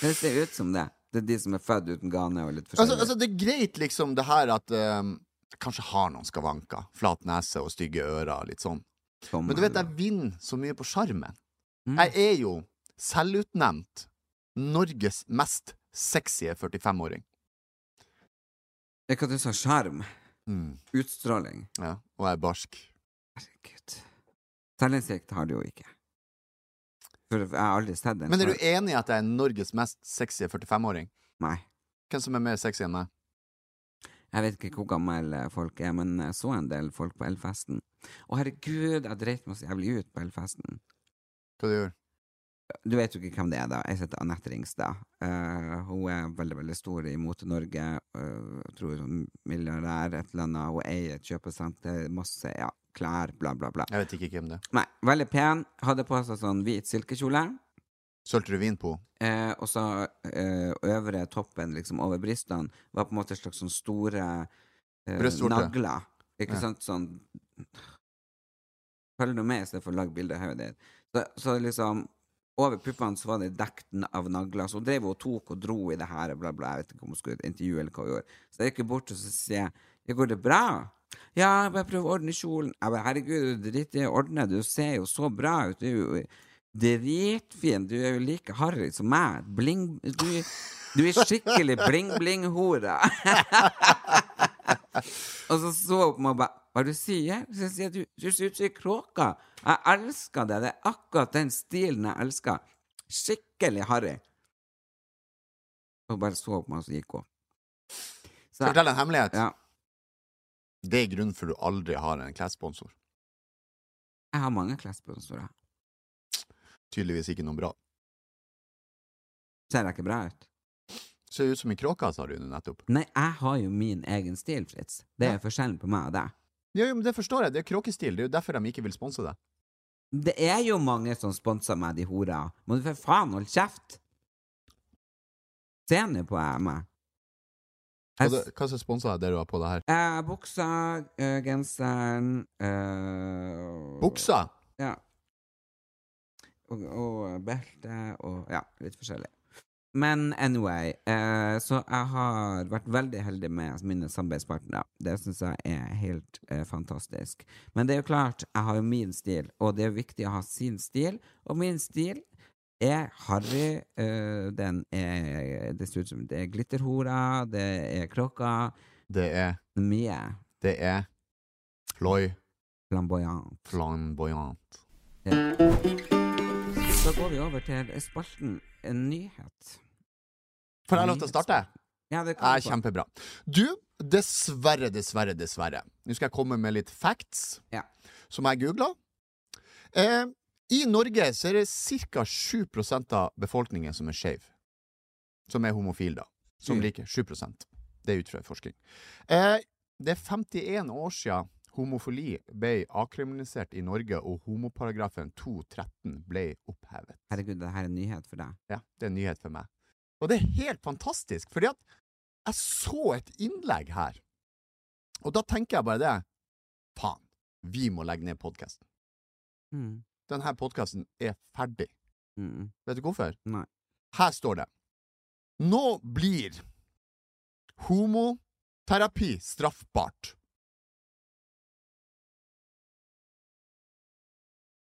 I: det ser ut som det. Det er de som er født uten gane og litt
J: Altså,
I: forskjellig.
J: altså, det er greit, liksom, det her at eh, jeg Kanskje har noen skavanker. Flat nese og stygge ører og litt sånn. Men du vet, jeg vinner så mye på sjarmen. Jeg er jo selvutnevnt Norges mest sexy 45-åring.
I: Det er hva du sa, skjerm. Mm. Utstråling.
J: Ja, og jeg er barsk.
I: Herregud. Selvinnsikt har du jo ikke. For jeg har aldri sett en
J: Men er
I: sånn-
J: du enig i at jeg er Norges mest sexy 45-åring?
I: Nei.
J: Hvem som er mer sexy enn meg?
I: Jeg vet ikke hvor gammel eh, folk er, men jeg så en del folk på Elfesten. Å herregud, jeg dreit meg så jævlig ut på Elfesten.
J: Hva du gjør?
I: Du vet jo ikke hvem det er, da. Jeg heter Anette Ringstad. Eh, hun er veldig, veldig stor i Mote-Norge. eh, jeg tror hun er milliardær, et eller annet. Hun eier et kjøpesenter, masse ja, klær, bla, bla, bla.
J: Jeg vet ikke hvem det er.
I: Nei, veldig pen. Hadde på seg sånn hvit silkekjole.
J: Sølte du vin på?
I: Eh, og så eh, øvre toppen liksom over brystene var på en måte slags sånn store eh,
J: Brystvorter.
I: nagler. Ikke
J: Ja.
I: sant? Sånn Følg nå med i stedet for å lage bilde av hodet ditt. Så, så liksom over puppene så var det dekt n- av nagler, så hun drev og tok og dro i det her, bla, bla, jeg vet ikke om hun skulle i et intervju eller hva hun gjorde. Så jeg gikk bort og så sier jeg, «Ja, går det bra? Ja, jeg bare prøv å ordne kjolen. Jeg bare, herregud, du driter i å ordne, du ser jo så bra ut, du er jo dritfin, du er jo like harry som meg, bling, du, du er skikkelig bling-bling-hora. og så så hun på meg og bare, hva du sier? Så jeg sier, du, du ser ut som en kråke. Jeg elsker det, det er akkurat den stilen jeg elsker. Skikkelig harry. Og bare så på meg, og så gikk hun. Så-
J: Skal jeg fortelle en hemmelighet?
I: Ja.
J: Det er grunnen for du aldri har en klessponsor.
I: Jeg har mange klessponsorer.
J: Tydeligvis ikke noe bra.
I: Ser jeg ikke bra ut?
J: Ser ut som en kråke, sa du nå nettopp.
I: Nei, jeg har jo min egen stil, Fritz. Det er forskjellen på meg og deg.
J: Ja, jo, men det forstår jeg. Det er kråkestil. Det er jo derfor de ikke vil sponse deg.
I: Det er jo mange som sponser meg, de hora. Må du for faen holde kjeft! Se nå på jeg, meg.
J: Hva,
I: Jeg
J: det- hva som sponser deg, det du har på deg her?
I: Eh, buksa, eh, genseren eh,
J: Buksa?
I: Ja. Og, og belte og ja, litt forskjellig. Men anyway, eh, så jeg har vært veldig heldig med mine samarbeidspartnere. Det syns jeg er helt eh, fantastisk. Men det er jo klart, jeg har jo min stil, og det er jo viktig å ha sin stil. Og min stil er harry. eh, den er Det ser ut som det er glitterhorer, det er kråker.
J: Det er
I: Mye.
J: Det er Floy.
I: Flamboyant.
J: Flamboyant.
I: Da går vi over til spalten En nyhet.
J: Får jeg lov til å starte?
I: Ja, det
J: Ja,
I: kan du få.
J: kjempebra. Du, dessverre, dessverre, dessverre. Nå skal jeg komme med litt facts som jeg googla. Eh, I Norge så er det ca. 7 av befolkningen som er skeiv. Som er homofil, da. Som
I: Mm.
J: liker 7 Det er ut fra forskning. Eh, det er 51 år siden homofili ble avkriminalisert i Norge, og homoparagrafen 213 ble opphevet.
I: Herregud, det her er en nyhet for deg.
J: Ja, det er en nyhet for meg. Og det er helt fantastisk, fordi at jeg så et innlegg her, og da tenker jeg bare det. Faen, vi må legge ned podkasten.
I: Mm.
J: Denne podkasten er ferdig.
I: Mm.
J: Vet du hvorfor?
I: Nei.
J: Her står det. Nå blir homoterapi straffbart.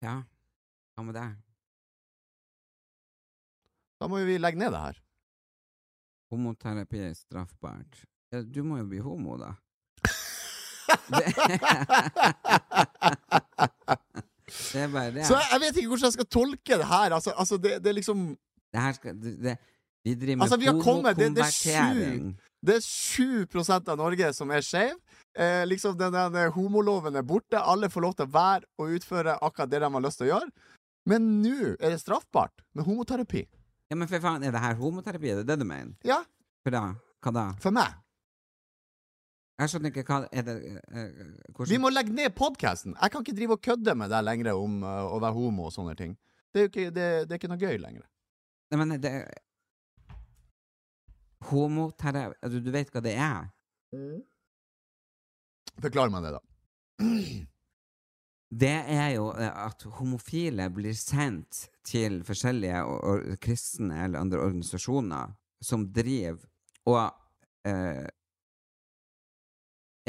I: Ja, hva med deg?
J: Da må jo vi legge ned det her.
I: Homoterapi er straffbart. Eh, Du må jo bli homo, da. Det er bare det.
J: Så jeg, jeg vet ikke hvordan jeg skal tolke det her. Altså, altså det, det er liksom
I: Det her skal det, det, Vi driver med
J: Altså, vi har kommet Det, det er
I: homokonvertering.
J: sju Det er sju prosent av Norge som er skeiv. Eh, liksom den, den eh, homoloven er borte. Alle får lov til å være og utføre akkurat det de har lyst til å gjøre. Men nå er det straffbart med homoterapi.
I: Ja, men for faen, er det her homoterapi? Er det det du mener?
J: Ja.
I: For da? Hva da?
J: For meg.
I: Jeg skjønner ikke hva er det eh, hvordan,
J: Vi må legge ned podkasten! Jeg kan ikke drive og kødde med deg lenger om eh, å være homo og sånne ting. Det er jo ikke, det, det er ikke noe gøy lenger.
I: Nei, men det Homoterapi du, altså, du vet hva det er?
J: Forklar meg det, da.
I: Det er jo eh, at homofile blir sendt til forskjellige or or- kristne eller andre organisasjoner som driver og eh,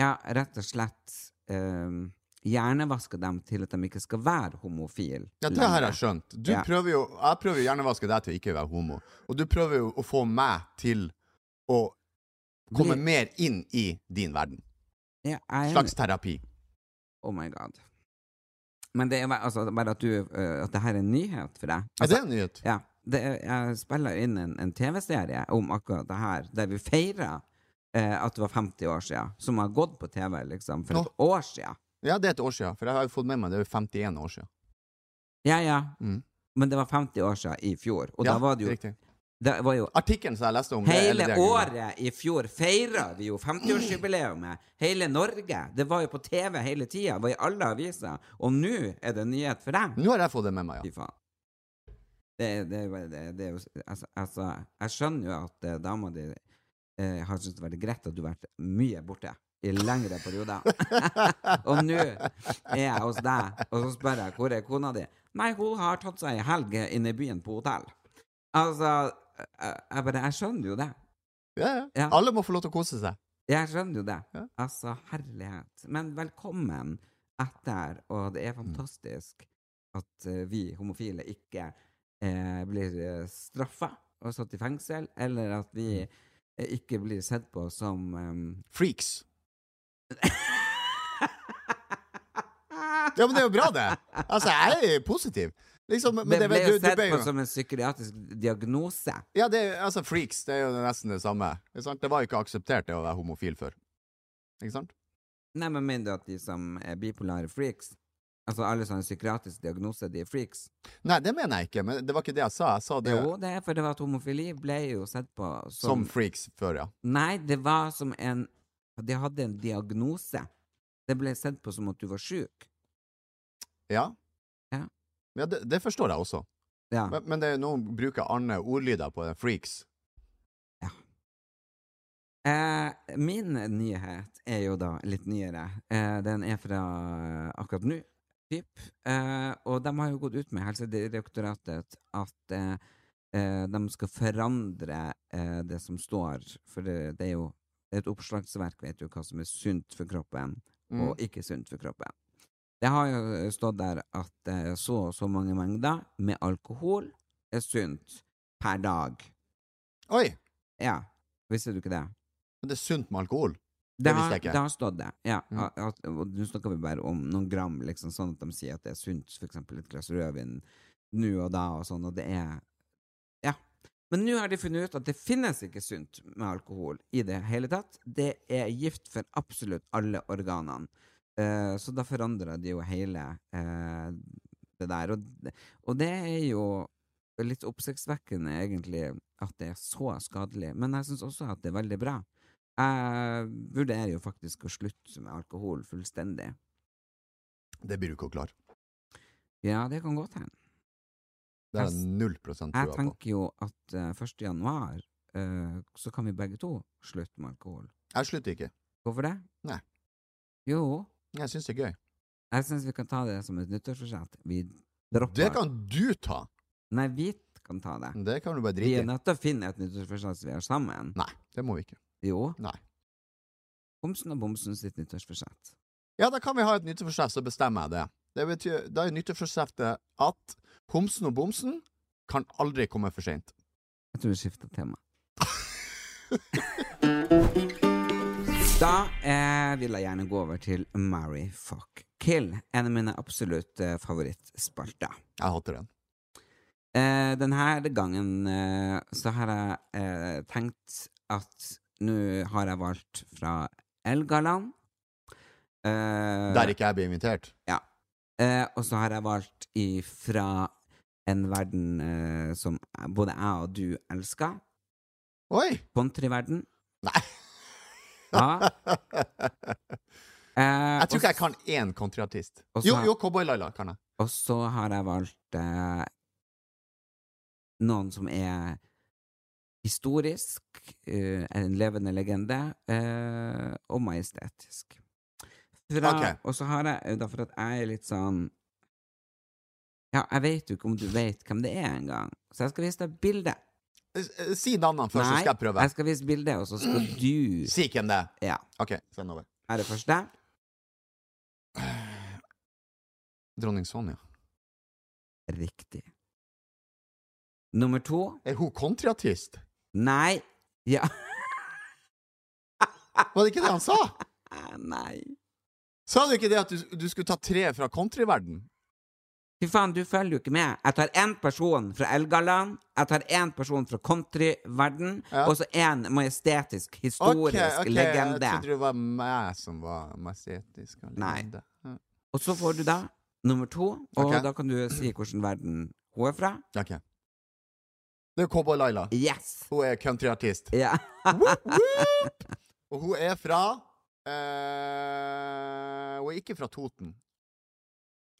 I: Ja, rett og slett eh, hjernevasker dem til at de ikke skal være homofile.
J: Ja, det har jeg skjønt. Du prøver jo, jeg prøver jo gjerne å vaske deg til å ikke være homo, og du prøver jo å få meg til å komme
I: Bli-
J: mer inn i din verden.
I: Ja, jeg er
J: Slags terapi.
I: Oh my god. Men det er bare- altså, bare at, du, eh, at det her er en nyhet for deg.
J: Ja, det er en nyhet.
I: Ja. Det er, jeg spiller inn en, en TV-serie om akkurat det her, der vi feirer eh, at det var 50 år siden, som har gått på TV liksom, for et år siden.
J: Ja, det er et år siden, for jeg har jo fått med meg det er jo 51 år siden.
I: Ja, ja.
J: Mm.
I: Men det var 50 år siden i fjor, og
J: Ja,
I: da var det jo,
J: riktig.
I: det var jo
J: Artikkelen som jeg leste om det,
I: Hele
J: eller det jeg googlet.
I: året i fjor feira vi jo 50-årsjubileet. Hele Norge. Det var jo på TV hele tida, var i alle aviser. Og nå er det en nyhet for deg.
J: Nå har jeg fått det med meg,
I: ja. Fy faen. Det, det, er bare- det, det er jo altså, altså, jeg skjønner jo at eh, dama di eh, har syntes det har vært greit at du har vært mye borte i lengre perioder. og nå er jeg hos deg, og så spør jeg hvor er kona di? Nei, hun har tatt seg en helg inne i byen på hotell. Altså, jeg, jeg bare Jeg skjønner jo det.
J: Ja, ja. Alle må få lov til å kose seg.
I: Jeg skjønner jo det. Altså, herlighet. Men velkommen etter, og
J: Mm.
I: det er fantastisk at eh, vi homofile ikke eh, blir eh, straffa og satt i fengsel, eller at vi
J: Mm.
I: eh, ikke blir sett på som ehm,
J: Freaks. Ja, men det er jo bra, det! Altså, jeg er positiv. Liksom, men
I: det
J: det,
I: blir
J: du,
I: jo
J: du,
I: sett
J: ble
I: på
J: jo-
I: som en psykiatrisk diagnose.
J: Ja, det, er- altså freaks, det er jo nesten det samme. Ikke sant? Det var jo ikke akseptert det å være homofil før. Ikke sant?
I: Nei, men mener du at de som er bipolare freaks Altså alle som har en psykiatrisk diagnose, de er freaks?
J: Nei, det mener jeg ikke, men det var ikke det jeg sa. Jeg sa det
I: Jo, det er for det var at homofili ble jo sett på
J: som
I: som,
J: freaks før, ja.
I: Nei, det var som en De hadde en diagnose. Det ble sett på som at du var sjuk.
J: Ja,
I: Ja.
J: ja det, det forstår jeg også.
I: Ja.
J: Men, men det er nå bruker Arne ordlyder på det, freaks.
I: Eh, min nyhet er jo da litt nyere. Eh, den er fra akkurat nå, typ. Eh, og de har jo gått ut med Helsedirektoratet at eh, eh, de skal forandre eh, det som står, for det, det er jo et oppslagsverk vet jo hva som er sunt for kroppen,
M: Mm.
I: og ikke sunt for kroppen. Det har jo stått der at eh, så og så mange mengder med alkohol er sunt per dag.
J: Oi!
I: Ja, visste du ikke det?
J: Men det er sunt med alkohol. Det,
I: Det
J: visste
I: har,
J: jeg ikke.
I: det har stått det, ja.
J: Mm.
I: At- At, og nå snakker vi bare om noen gram, liksom, sånn at de sier at det er sunt, for eksempel et glass rødvin nå og da, og sånn, og det er Ja. Men nå har de funnet ut at det finnes ikke sunt med alkohol i det hele tatt. Det er gift for absolutt alle organene. Eh, så da forandrer de jo hele eh, det der. Og, og det er jo litt oppsiktsvekkende, egentlig, at det er så skadelig. Men jeg syns også at det er veldig bra Jeg vurderer jo faktisk å slutte med alkohol fullstendig.
J: Det blir du ikke å klare.
I: Ja, det kan godt hende.
J: Det er null prosent
I: Jeg
J: trua på.
I: tenker jo at eh, 1. januar eh, så kan vi begge to slutte med alkohol.
J: Jeg slutter ikke.
I: Hvorfor det?
J: Nei.
I: Jo.
J: Jeg syns det er gøy.
I: Jeg syns vi kan ta det som et nyttårsforsett. Vi dropper
J: Det kan du ta!
I: Nei, vi kan ta det.
J: Det kan du bare
I: Vi
J: drite
I: er
J: i.
I: nødt til å finne et nyttårsforsett som vi har sammen.
J: Nei, det må vi ikke.
I: Jo.
J: Nei.
I: Homsen og bomsen sitt nyttårsforsett.
J: Ja, da kan vi ha et nyttårsforsett, så bestemmer jeg det. Det betyr, Da er nyttårsforsettet at homsen og bomsen kan aldri komme for seint.
I: Jeg tror vi skifter tema. Da eh, vil jeg gjerne gå over til Marry, fuck, kill. En av mine absolutt eh, favorittspalter.
J: Jeg hater den.
I: Eh, denne gangen eh, så har jeg eh, tenkt at nå har jeg valgt fra Elgaland. Eh,
J: Der ikke jeg blir invitert.
I: Ja. Eh, og så har jeg valgt ifra en verden eh, som både jeg og du elsker.
J: Oi!
I: Countryverden. Nei! Ja. Eh,
J: Jeg tror ikke jeg kan én countryartist.
I: Og så-
J: Jo, jo, Cowboy Laila kan jeg.
I: Og så har jeg valgt eh, noen som er historisk, eh, en levende legende, eh, og majestetisk. Fra,
J: Ok.
I: Og så har jeg, eh, da for at jeg er litt sånn Ja, jeg vet jo ikke om du vet hvem det er engang, så jeg skal vise deg bildet.
J: Eh, Si navnene først, så
I: Nei,
J: skal jeg prøve.
I: jeg skal vise bildet, og så skal du
J: Si hvem det er.
I: Ja.
J: OK, send over.
I: Er det første?
J: Dronning Sonja.
I: Riktig. Nummer to
J: Er hun countryartist?
I: Nei. Ja.
J: Var det ikke det han sa?
I: ah, Nei.
J: Sa du ikke det at du, du skulle ta tre fra countryverden?
I: Fy faen, du følger jo ikke med. Jeg tar én person fra Elgaland, jeg tar én person fra countryverden, og så én majestetisk, historisk
J: Ok, ok, Jeg
I: legende.
J: trodde det var meg som var majestetisk. og
I: Nei.
J: legende. Ja.
I: Og så får du da nummer to, og
J: Ok.
I: da kan du si hvilken verden hun er fra.
J: Ok. Det er Cowboy Laila.
I: Yes!
J: Hun er countryartist.
I: Ja.
J: Woop, woop! Og hun er fra eh, Hun er ikke fra Toten.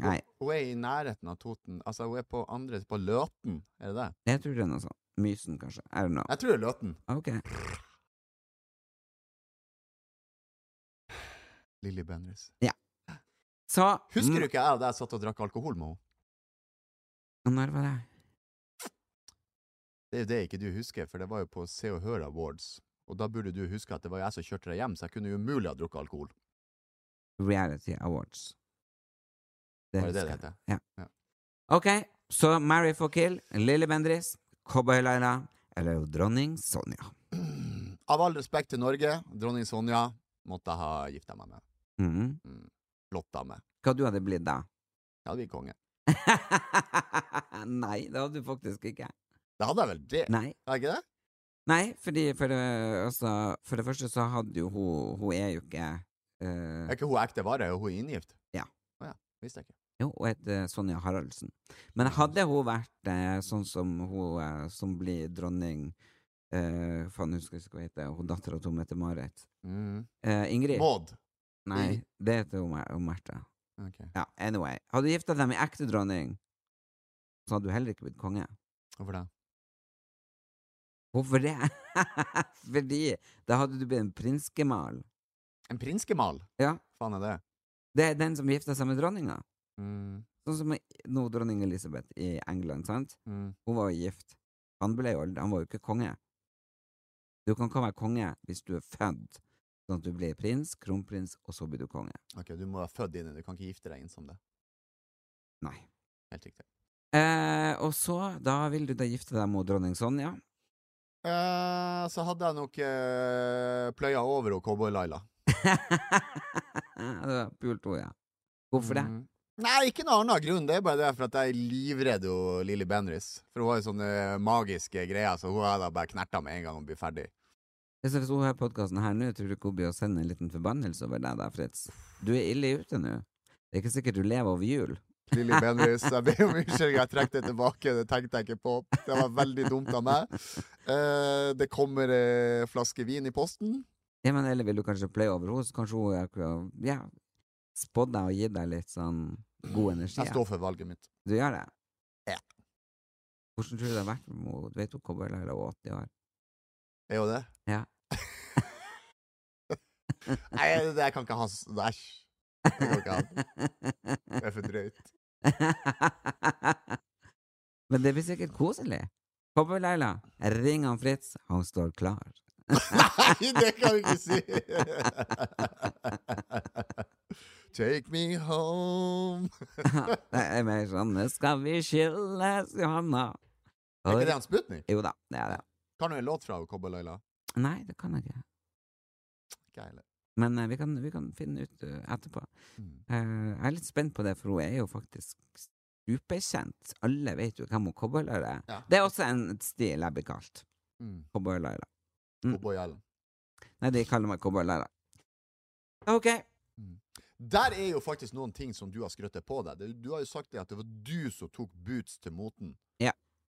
I: Nei,
J: Hun er i nærheten av Toten. Altså, hun er på andre På Løten, er det det?
I: jeg tror det er noe sånt. Mysen, kanskje. I don't know.
J: Jeg tror det er Løten.
I: Ok.
J: Lilly Bendriss.
I: Ja. Så
J: Husker du ikke jeg og deg satt og drakk alkohol med henne?
I: Når var det?
J: Det er jo det ikke du husker, for det var jo på Se og Hør Awards. Og da burde du huske at det var jeg som kjørte deg hjem, så jeg kunne jo umulig ha drukket alkohol.
I: Reality Awards.
J: Var det det
I: husker
J: det
I: jeg.
J: heter?
I: Ja.
J: Ja.
I: Ok, så Mary for Kill, Lilly Bendriss, Cowboy Laila eller dronning Sonja.
J: Av all respekt til Norge, dronning Sonja måtte jeg ha gifta meg med.
I: Mhm.
J: Mm. Flott dame.
I: Hva du hadde blitt da?
J: Jeg hadde blitt konge.
I: Nei, det hadde du faktisk ikke.
J: Det hadde jeg vel det?
I: Nei.
J: Er det ikke det?
I: Nei, fordi for det, altså, for det første så hadde jo hun Hun er jo ikke eh,
J: Er ikke hun ekte vare? Er hun inngift?
I: Ja.
J: Å ja, visste jeg ikke.
I: Jo, hun heter Sonja Haraldsen. Men hadde hun vært eh, sånn som hun eh, som blir dronning eh, Faen, husker jeg ikke hva hun heter. Hun dattera til Mette-Marit.
J: Mm.
I: Eh, Ingrid.
J: Maud.
I: Nei, det heter hun, Mer- hun Märtha.
J: Ok.
I: Ja, anyway. Hadde du gifta deg med ekte dronning, så hadde du heller ikke blitt konge.
J: Hvorfor det?
I: Hvorfor det? Fordi da hadde du blitt en prinsgemal.
J: En prinsgemal?
I: Ja.
J: Faen er det?
I: Det er den som gifta seg med dronninga.
J: Mm.
I: Sånn som nå dronning Elisabeth i England, sant?
J: Mm.
I: Hun var jo gift. Han ble jo Han var jo ikke konge. Du kan ikke være konge hvis du er født, sånn at du blir prins, kronprins, og så blir du konge.
J: Ok, du må være født inn i det. Du kan ikke gifte deg inn som det.
I: Nei.
J: Helt riktig.
I: Eh, og så, da vil du da gifte deg med dronning Sonja.
J: Eh, så hadde jeg nok eh, pløya over og Cowboy Laila.
I: Eh, det var pult ord, ja. Hvorfor det?
J: Mm. Nei, ikke noen annen grunn. Det er bare det for at jeg er livredd jo Lilly Bendriss. For hun har jo sånne eh, magiske greier, så hun hadde jeg bare knerta med en gang hun blir ferdig.
I: Hvis hvis hun hører podkasten her nå, tror du ikke hun blir å sende en liten forbannelse over deg da, Fritz? Du er ille ute nå. Det er ikke sikkert du lever over jul.
J: Lilly Bendriss, jeg ber om unnskyldning, jeg trekker det tilbake. Det tenkte jeg ikke på. Det var veldig dumt av meg. Eh, det kommer ei flaske eh, vin i posten.
I: Ja, men Eller vil du kanskje pløye over henne? så Kanskje hun er akkurat- ja, spådd deg og gitt deg litt sånn god energi?
J: Jeg står for valget mitt.
I: Du gjør det?
J: Ja.
I: Hvordan tror du det har vært med henne? Du Vet hun kommer til å være 80 år?
J: Er jo det?
I: Ja.
J: Nei, det, det jeg kan ikke ha s- Æsj. Det kan ikke ha. Det er for drøyt.
I: Men det blir sikkert koselig. Kom på, Leila. Ring han Fritz. Han står klar.
J: Nei, det kan du ikke si! Take me home
I: det er mer sånn «Nå Skal vi skilles, Johanna?
J: Er ikke det han Sputnik?
I: Jo da, det er det.
J: Kan du en låt fra Cowboy Laila?
I: Nei, det kan jeg ikke.
J: Ikke jeg heller.
I: Men eh, vi, kan, vi kan finne ut eh, etterpå.
J: Mm.
I: Eh, jeg er litt spent på det, for hun er jo faktisk superkjent. Alle vet jo hvem hun cowboylærer er.
J: Ja.
I: Det er også en et stil jeg blir kalt.
J: Mm.
I: Cowboylærer.
J: Cowboy Island.
I: Nei, de kaller meg cowboylærer. Ok.
J: Der er jo faktisk noen ting som du har skrøttet på deg. Det- Du har jo sagt det at det var du som tok boots til moten.
I: Ja.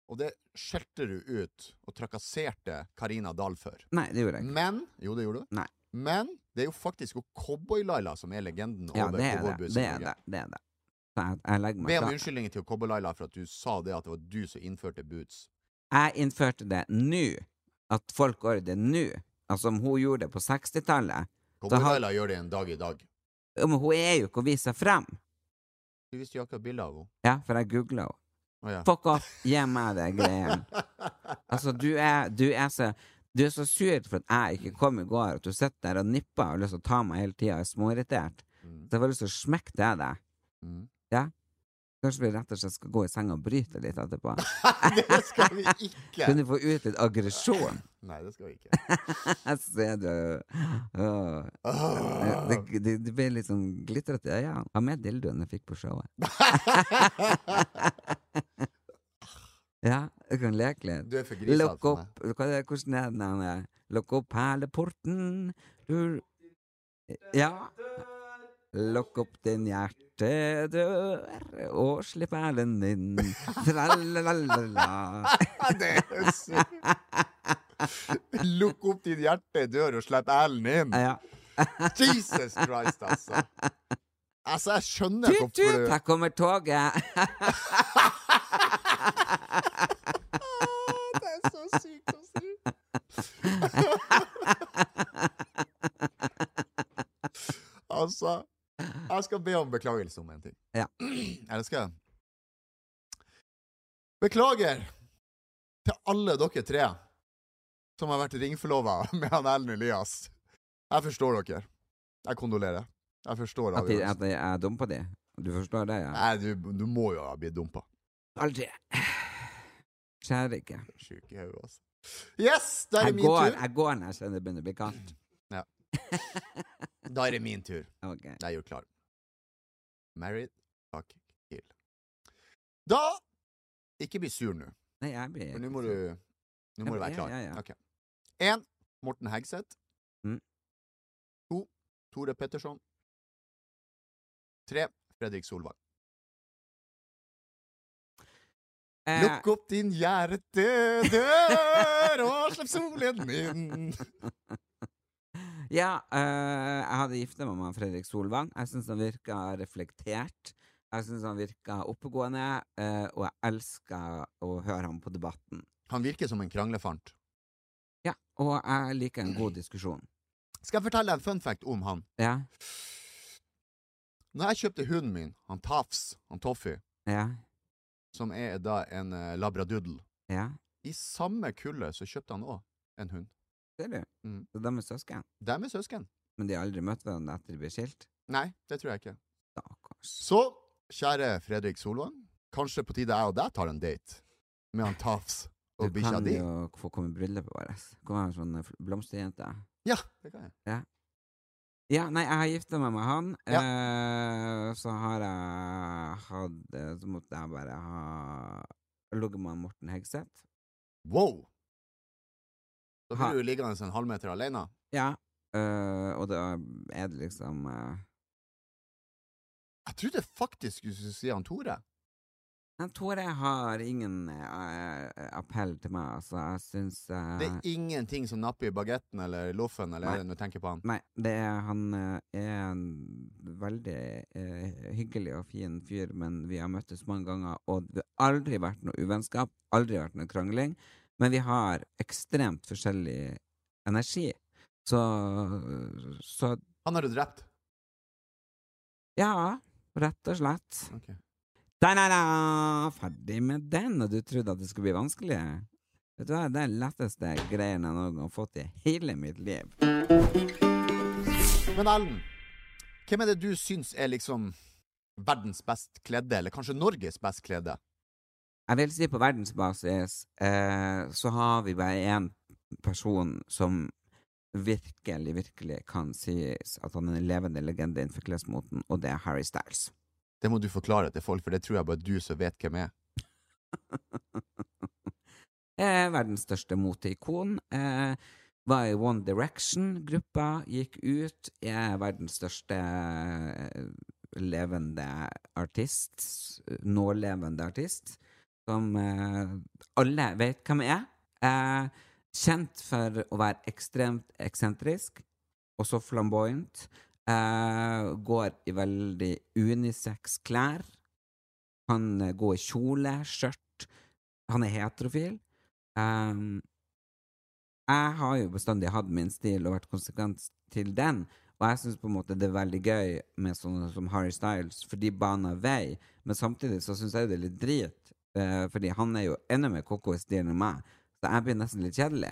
J: Og det skjelte du ut og trakasserte Karina Dahl for.
I: Nei, det gjorde jeg ikke.
J: Men Jo, det gjorde du.
I: Nei.
J: Men det er jo faktisk jo Cowboy-Laila som er legenden
I: Ja,
J: over
I: det er det.
J: cowboyboots i
I: Det er
J: Norge.
I: det. det, er det. Så jeg, jeg legger meg
J: Be om
I: flat.
J: unnskyldninger til Cowboy-Laila for at du sa det at det var du som innførte boots.
I: Jeg innførte det nå. At folk gjør det nå. Altså, om hun gjorde det på 60-tallet så har-
J: Cowboy-Laila gjør det en dag i dag.
I: Ja, Men hun er jo ikke å vise seg frem.
J: Du viste jo akkurat bilde av henne.
I: Ja, for jeg googla henne.
J: Å ja.
I: Fuck off, gi meg det greien. Altså, du er, du er så Du er så sur for at jeg ikke kom i går, at du sitter der og nipper og har lyst til å ta meg hele tida og er småirritert. Så jeg får lyst til å smekke det av deg.
J: Mm.
I: Ja? Kanskje vi rett og slett skal gå i senga og bryte litt etterpå?
J: det skal vi ikke!
I: Kunne få ut litt aggresjon.
J: Nei, det skal vi ikke.
I: Jeg ser du Åh.
J: Ah.
I: det, det, det ble litt sånn glitrete i øynene. Hva med dildoen jeg fikk på showet? ja, du kan leke litt.
J: Du er for grisete
I: Lukk
J: for meg.
I: opp hva er det, Hvordan er den der Lukk opp perleporten du Ja. Lukk opp din hjertedør og slipp perlen din. Tralalala.
J: det er sykt. Lukk opp din hjertedør og slipp ælen inn. Jesus Christ, altså. Altså, jeg skjønner
I: Tut,
J: hvorfor
I: tut,
J: du
I: her kommer toget!
J: Det er så sykt å si. Altså, jeg skal be om beklagelse om en ting.
I: Ja.
J: Eller skal jeg? Beklager til alle dere tre som har vært ringforlova med han Ellen Elias. Jeg forstår dere. Jeg kondolerer. Jeg forstår
I: At, de,
J: avgjørelsen.
I: at jeg er dum på det? Du forstår det, ja?
J: Nei, du, du må jo ha blitt dumpa.
I: Aldri. Skjærer ikke.
J: Sjuk i hodet, altså. Yes, da er
I: Jeg
J: det min
I: går,
J: tur.
I: jeg går når jeg kjenner det begynner å bli kaldt.
J: Ja. Da er det min tur. Da er jeg jo klar. Married fuck kill. Da Ikke bli sur nå.
I: Nei, jeg blir
J: For nå må du Nå
I: Ja,
J: må du
I: men
J: være
I: ja,
J: klar.
I: ja, ja.
J: Ok. En, Morten Hegseth.
I: Mm.
J: To, Tore Petterson. Tre, Fredrik Solvang.
I: Eh.
J: Lukk opp din hjertedør og slipp solen inn.
I: Ja, eh, jeg hadde gifta meg med Fredrik Solvang. Jeg syns han virka reflektert. Jeg syns han virka oppegående, eh, og jeg elska å høre ham på debatten.
J: Han virker som en kranglefant.
I: Ja, og jeg liker en god diskusjon.
J: Skal jeg fortelle deg en fun fact om han?
I: Ja,
J: Når jeg kjøpte hunden min, han Tafs, han Toffy,
I: ja,
J: som er da en eh, labradoodle,
I: ja.
J: i samme kullet så kjøpte han òg en hund.
I: Ser du?
J: Mm.
I: Så de er søsken.
J: De er søsken.
I: Men de har aldri møtt hverandre etter de ble skilt.
J: Nei, det tror jeg ikke. Så, kjære Fredrik Solvang, kanskje på tide jeg og deg tar en date med han Tafs og
I: Du
J: bikkja
I: kan
J: di?
I: jo få komme i bryllupet vårt. Kom her, sånn eh, blomsterjente.
J: Ja, det kan jeg.
I: Ja. ja, nei, jeg har gifta meg med han. Eh, så har jeg hatt eh, Så måtte jeg bare ha ligget med han Morten Hegseth.
J: Wow! Da
I: Ha-
J: blir du liggende en halvmeter alene.
I: Ja. eh, og da er det liksom eh,
J: Jeg trodde faktisk du skulle si han Tore.
I: Nei, Tore har ingen eh, appell til meg, altså. Jeg syns eh,
J: Det er ingenting som napper i bagetten eller loffen eller
I: Nei.
J: ølen når du tenker på han.
I: Nei, det er, han eh, er en veldig eh, hyggelig og fin fyr, men vi har møttes mange ganger, og det har aldri vært noe uvennskap, aldri vært noe krangling, men vi har ekstremt forskjellig energi. Så, så
J: Han har du drept?
I: Ja, rett og slett.
J: Ok.
I: Da-da-da! Ferdig med den, og du trodde at det skulle bli vanskelig? Vet du hva, det er den letteste greien jeg noen gang har fått i hele mitt liv.
J: Men Ellen, hvem er det du syns er liksom verdens best kledde, eller kanskje Norges best kledde?
I: Jeg vil si på verdensbasis eh, så har vi bare én person som virkelig, virkelig kan sies at han er en levende legende innenfor klesmoten, og det er Harry Styles.
J: Det må du forklare til folk, for det tror jeg bare du som vet hvem er.
I: Mm. Eh, verdens største moteikon. Eh, var i One Direction-gruppa, gikk ut, er verdens største eh, levende artist, s- nålevende artist, som eh, alle vet hvem er. Eh, kjent for å være ekstremt eksentrisk, også flamboyant. Eh, går i veldig unisex klær. Han eh, går i kjole, skjørt. Han er heterofil. Ehm, jeg har jo bestandig hatt min stil og vært konsekvent til den, og jeg syns på en måte det er veldig gøy med sånne som Harry Styles, for de baner vei, men samtidig så syns jeg jo det er litt drit, eh, fordi han er jo enda mer koko i stilen enn meg, så jeg blir nesten litt kjedelig.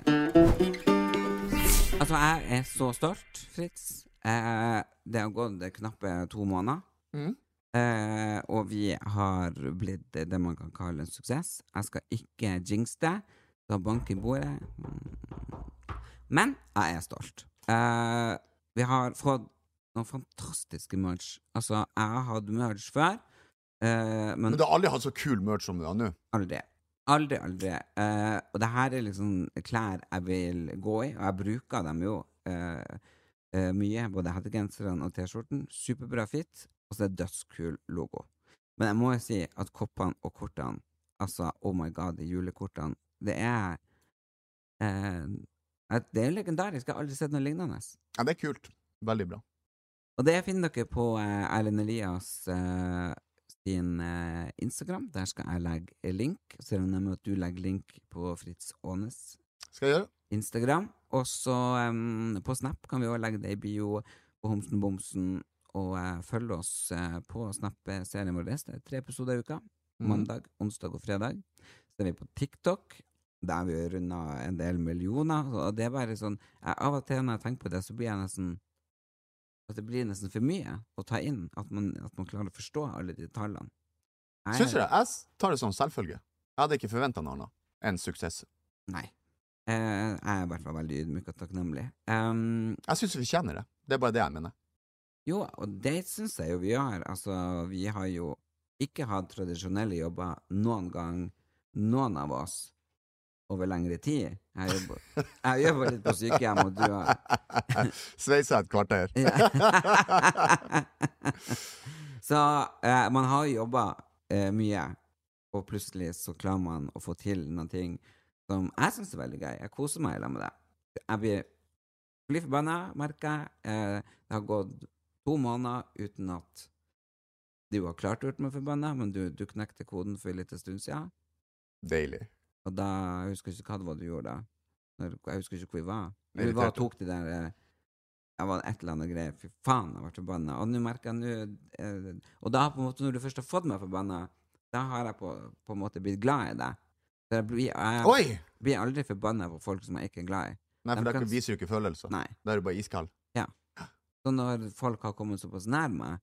I: Altså, jeg er så stolt, Fritz. Eh, det har gått knappe to måneder.
J: Mm.
I: Eh, og vi har blitt det man kan kalle en suksess. Jeg skal ikke jinxe det. Skal banke i bordet. Men jeg er stolt. Eh, vi har fått noen fantastiske merch. Altså, jeg har hatt merch før. eh, men
J: Men du har aldri hatt så kul merch som du har nå.
I: Aldri. Aldri, aldri. Eh, og det her er liksom klær jeg vil gå i, og jeg bruker dem jo eh, eh, mye. Både hettegenserne og T-skjorten. Superbra fit, og så er det dødskul logo. Men jeg må jo si at koppene og kortene, altså oh my god, de julekortene, det er eh, at Det er jo legendarisk. Jeg har aldri sett noe lignende.
J: Ja, det er kult. Veldig bra.
I: Og det finner dere på eh, Erlend Elias eh, sin eh, Instagram. Der skal jeg legge link. Så regner jeg med at du legger link på Fritz Aanes
J: Skal jeg gjøre?
I: Instagram. Og så em, på Snap kan vi også legge det i bio på Homsen Bomsen. Og eh, følg oss eh, på Snap-serien vår. Det er tre episoder i uka.
J: Mhm.
I: Mandag, onsdag og fredag. Så er vi på TikTok. Der har vi runda en del millioner. Og det er bare sånn jeg, Av og til når jeg tenker på det, så blir jeg nesten at det blir nesten for mye å ta inn. At man, at man klarer å forstå alle de tallene. Jeg-
J: Syns du det? Jeg s- tar det som selvfølge. Jeg hadde ikke forventa noe annet enn suksess.
I: Nei. Eh, jeg er i hvert fall veldig ydmyk og takknemlig. Em,
J: Jeg syns vi tjener det. Det er bare det jeg mener.
I: jo, og det syns jeg jo vi gjør. Altså, vi har jo ikke hatt tradisjonelle jobber noen gang, noen av oss, over lengre tid. Jeg jobber, jeg jobber litt på sykehjem, og du har
J: Sveisa et kvarter.
I: Så eh, man har jobba eh, mye, og plutselig så klarer man å få til noen ting som jeg syns er veldig gøy. Jeg koser meg i lag med det. Jeg blir blir forbanna, merker jeg. Eh, det har gått to måneder uten at du har klart å gjøre meg forbanna, men du, du knekte koden for en liten stund siden.
J: Deilig.
I: Og da jeg husker ikke hva det var du gjorde da. Når, jeg husker ikke hvor vi var. Vi
J: Irritert.
I: var og tok de der eh, Jeg var et eller annet greier. Fy faen, jeg ble forbanna. Og nå merker jeg nå eh, Og da, på en måte, når du først har fått meg forbanna, da har jeg på, på en måte blitt glad i deg. For jeg blir, jeg,
J: Oi!
I: blir aldri forbanna på folk som jeg ikke er glad i.
J: Nei, for
I: De
J: da
I: kan-
J: viser du ikke følelser.
I: Nei.
J: Da er du bare iskald.
I: Ja. Så når folk har kommet såpass nær meg,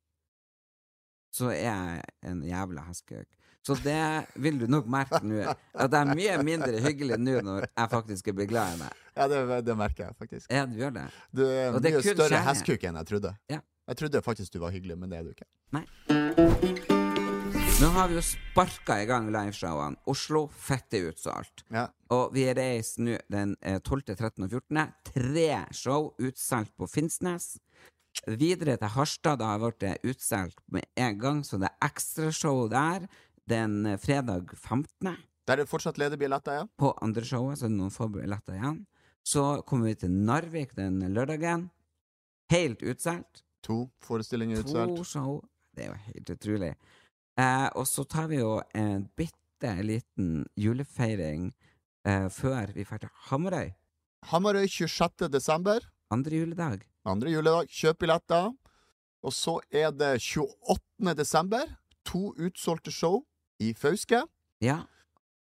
I: så er jeg en jævla heskeøk. Så det vil du nok merke nå, at jeg er mye mindre hyggelig nå når jeg faktisk blir glad i deg.
J: Ja, det, det merker jeg faktisk.
I: Ja, du gjør det.
J: Du er
I: Og det er
J: mye
I: kun
J: større
I: kjærlighet.
J: hestkuk enn jeg trodde.
I: Ja.
J: Jeg trodde faktisk du var hyggelig, men det er du ikke.
I: Nå har vi jo sparka i gang liveshowene. Oslo fette utsolgt. Og vi reiser nå den eh, 12., 13. og 14. Tre show utsolgt på Finnsnes. Videre til Harstad. Da har jeg blitt utsolgt med en gang, så det er ekstrashow der. Det er en eh, fredag 15.
J: Der er det fortsatt ledige billetter, ja.
I: På andre showet så er det noen få billetter igjen. Så kommer vi til Narvik den lørdagen. Helt utsolgt.
J: To forestillinger
I: To
J: utsolgt.
I: show. Det er jo helt utrolig. Eh, og så tar vi jo en bitte liten julefeiring eh, før vi drar til Hamarøy.
J: Hamarøy 26. desember.
I: Andre juledag.
J: Andre juledag. Kjøp billetter. Og så er det 28. desember. To utsolgte show i Fauske.
I: Ja.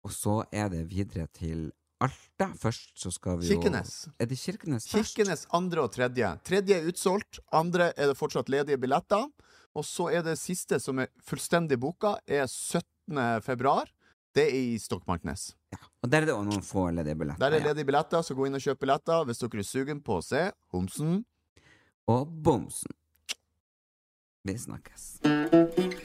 I: Og så er det videre til Alta. Først så skal vi jo
J: Kirkenes.
I: Er det Kirkenes først?
J: Kirkenes andre og tredje. Tredje er utsolgt, andre er det fortsatt ledige billetter. Og så er det siste som er fullstendig booka, er 17. februar. Det er i Stokmarknes.
I: Og der er det også noen få ledige billetter.
J: Der er
I: ja.
J: ledige billetter, så gå inn og kjøp billetter hvis dere er sugen på å se Homsen.
I: Og Bomsen. Vi snakkes.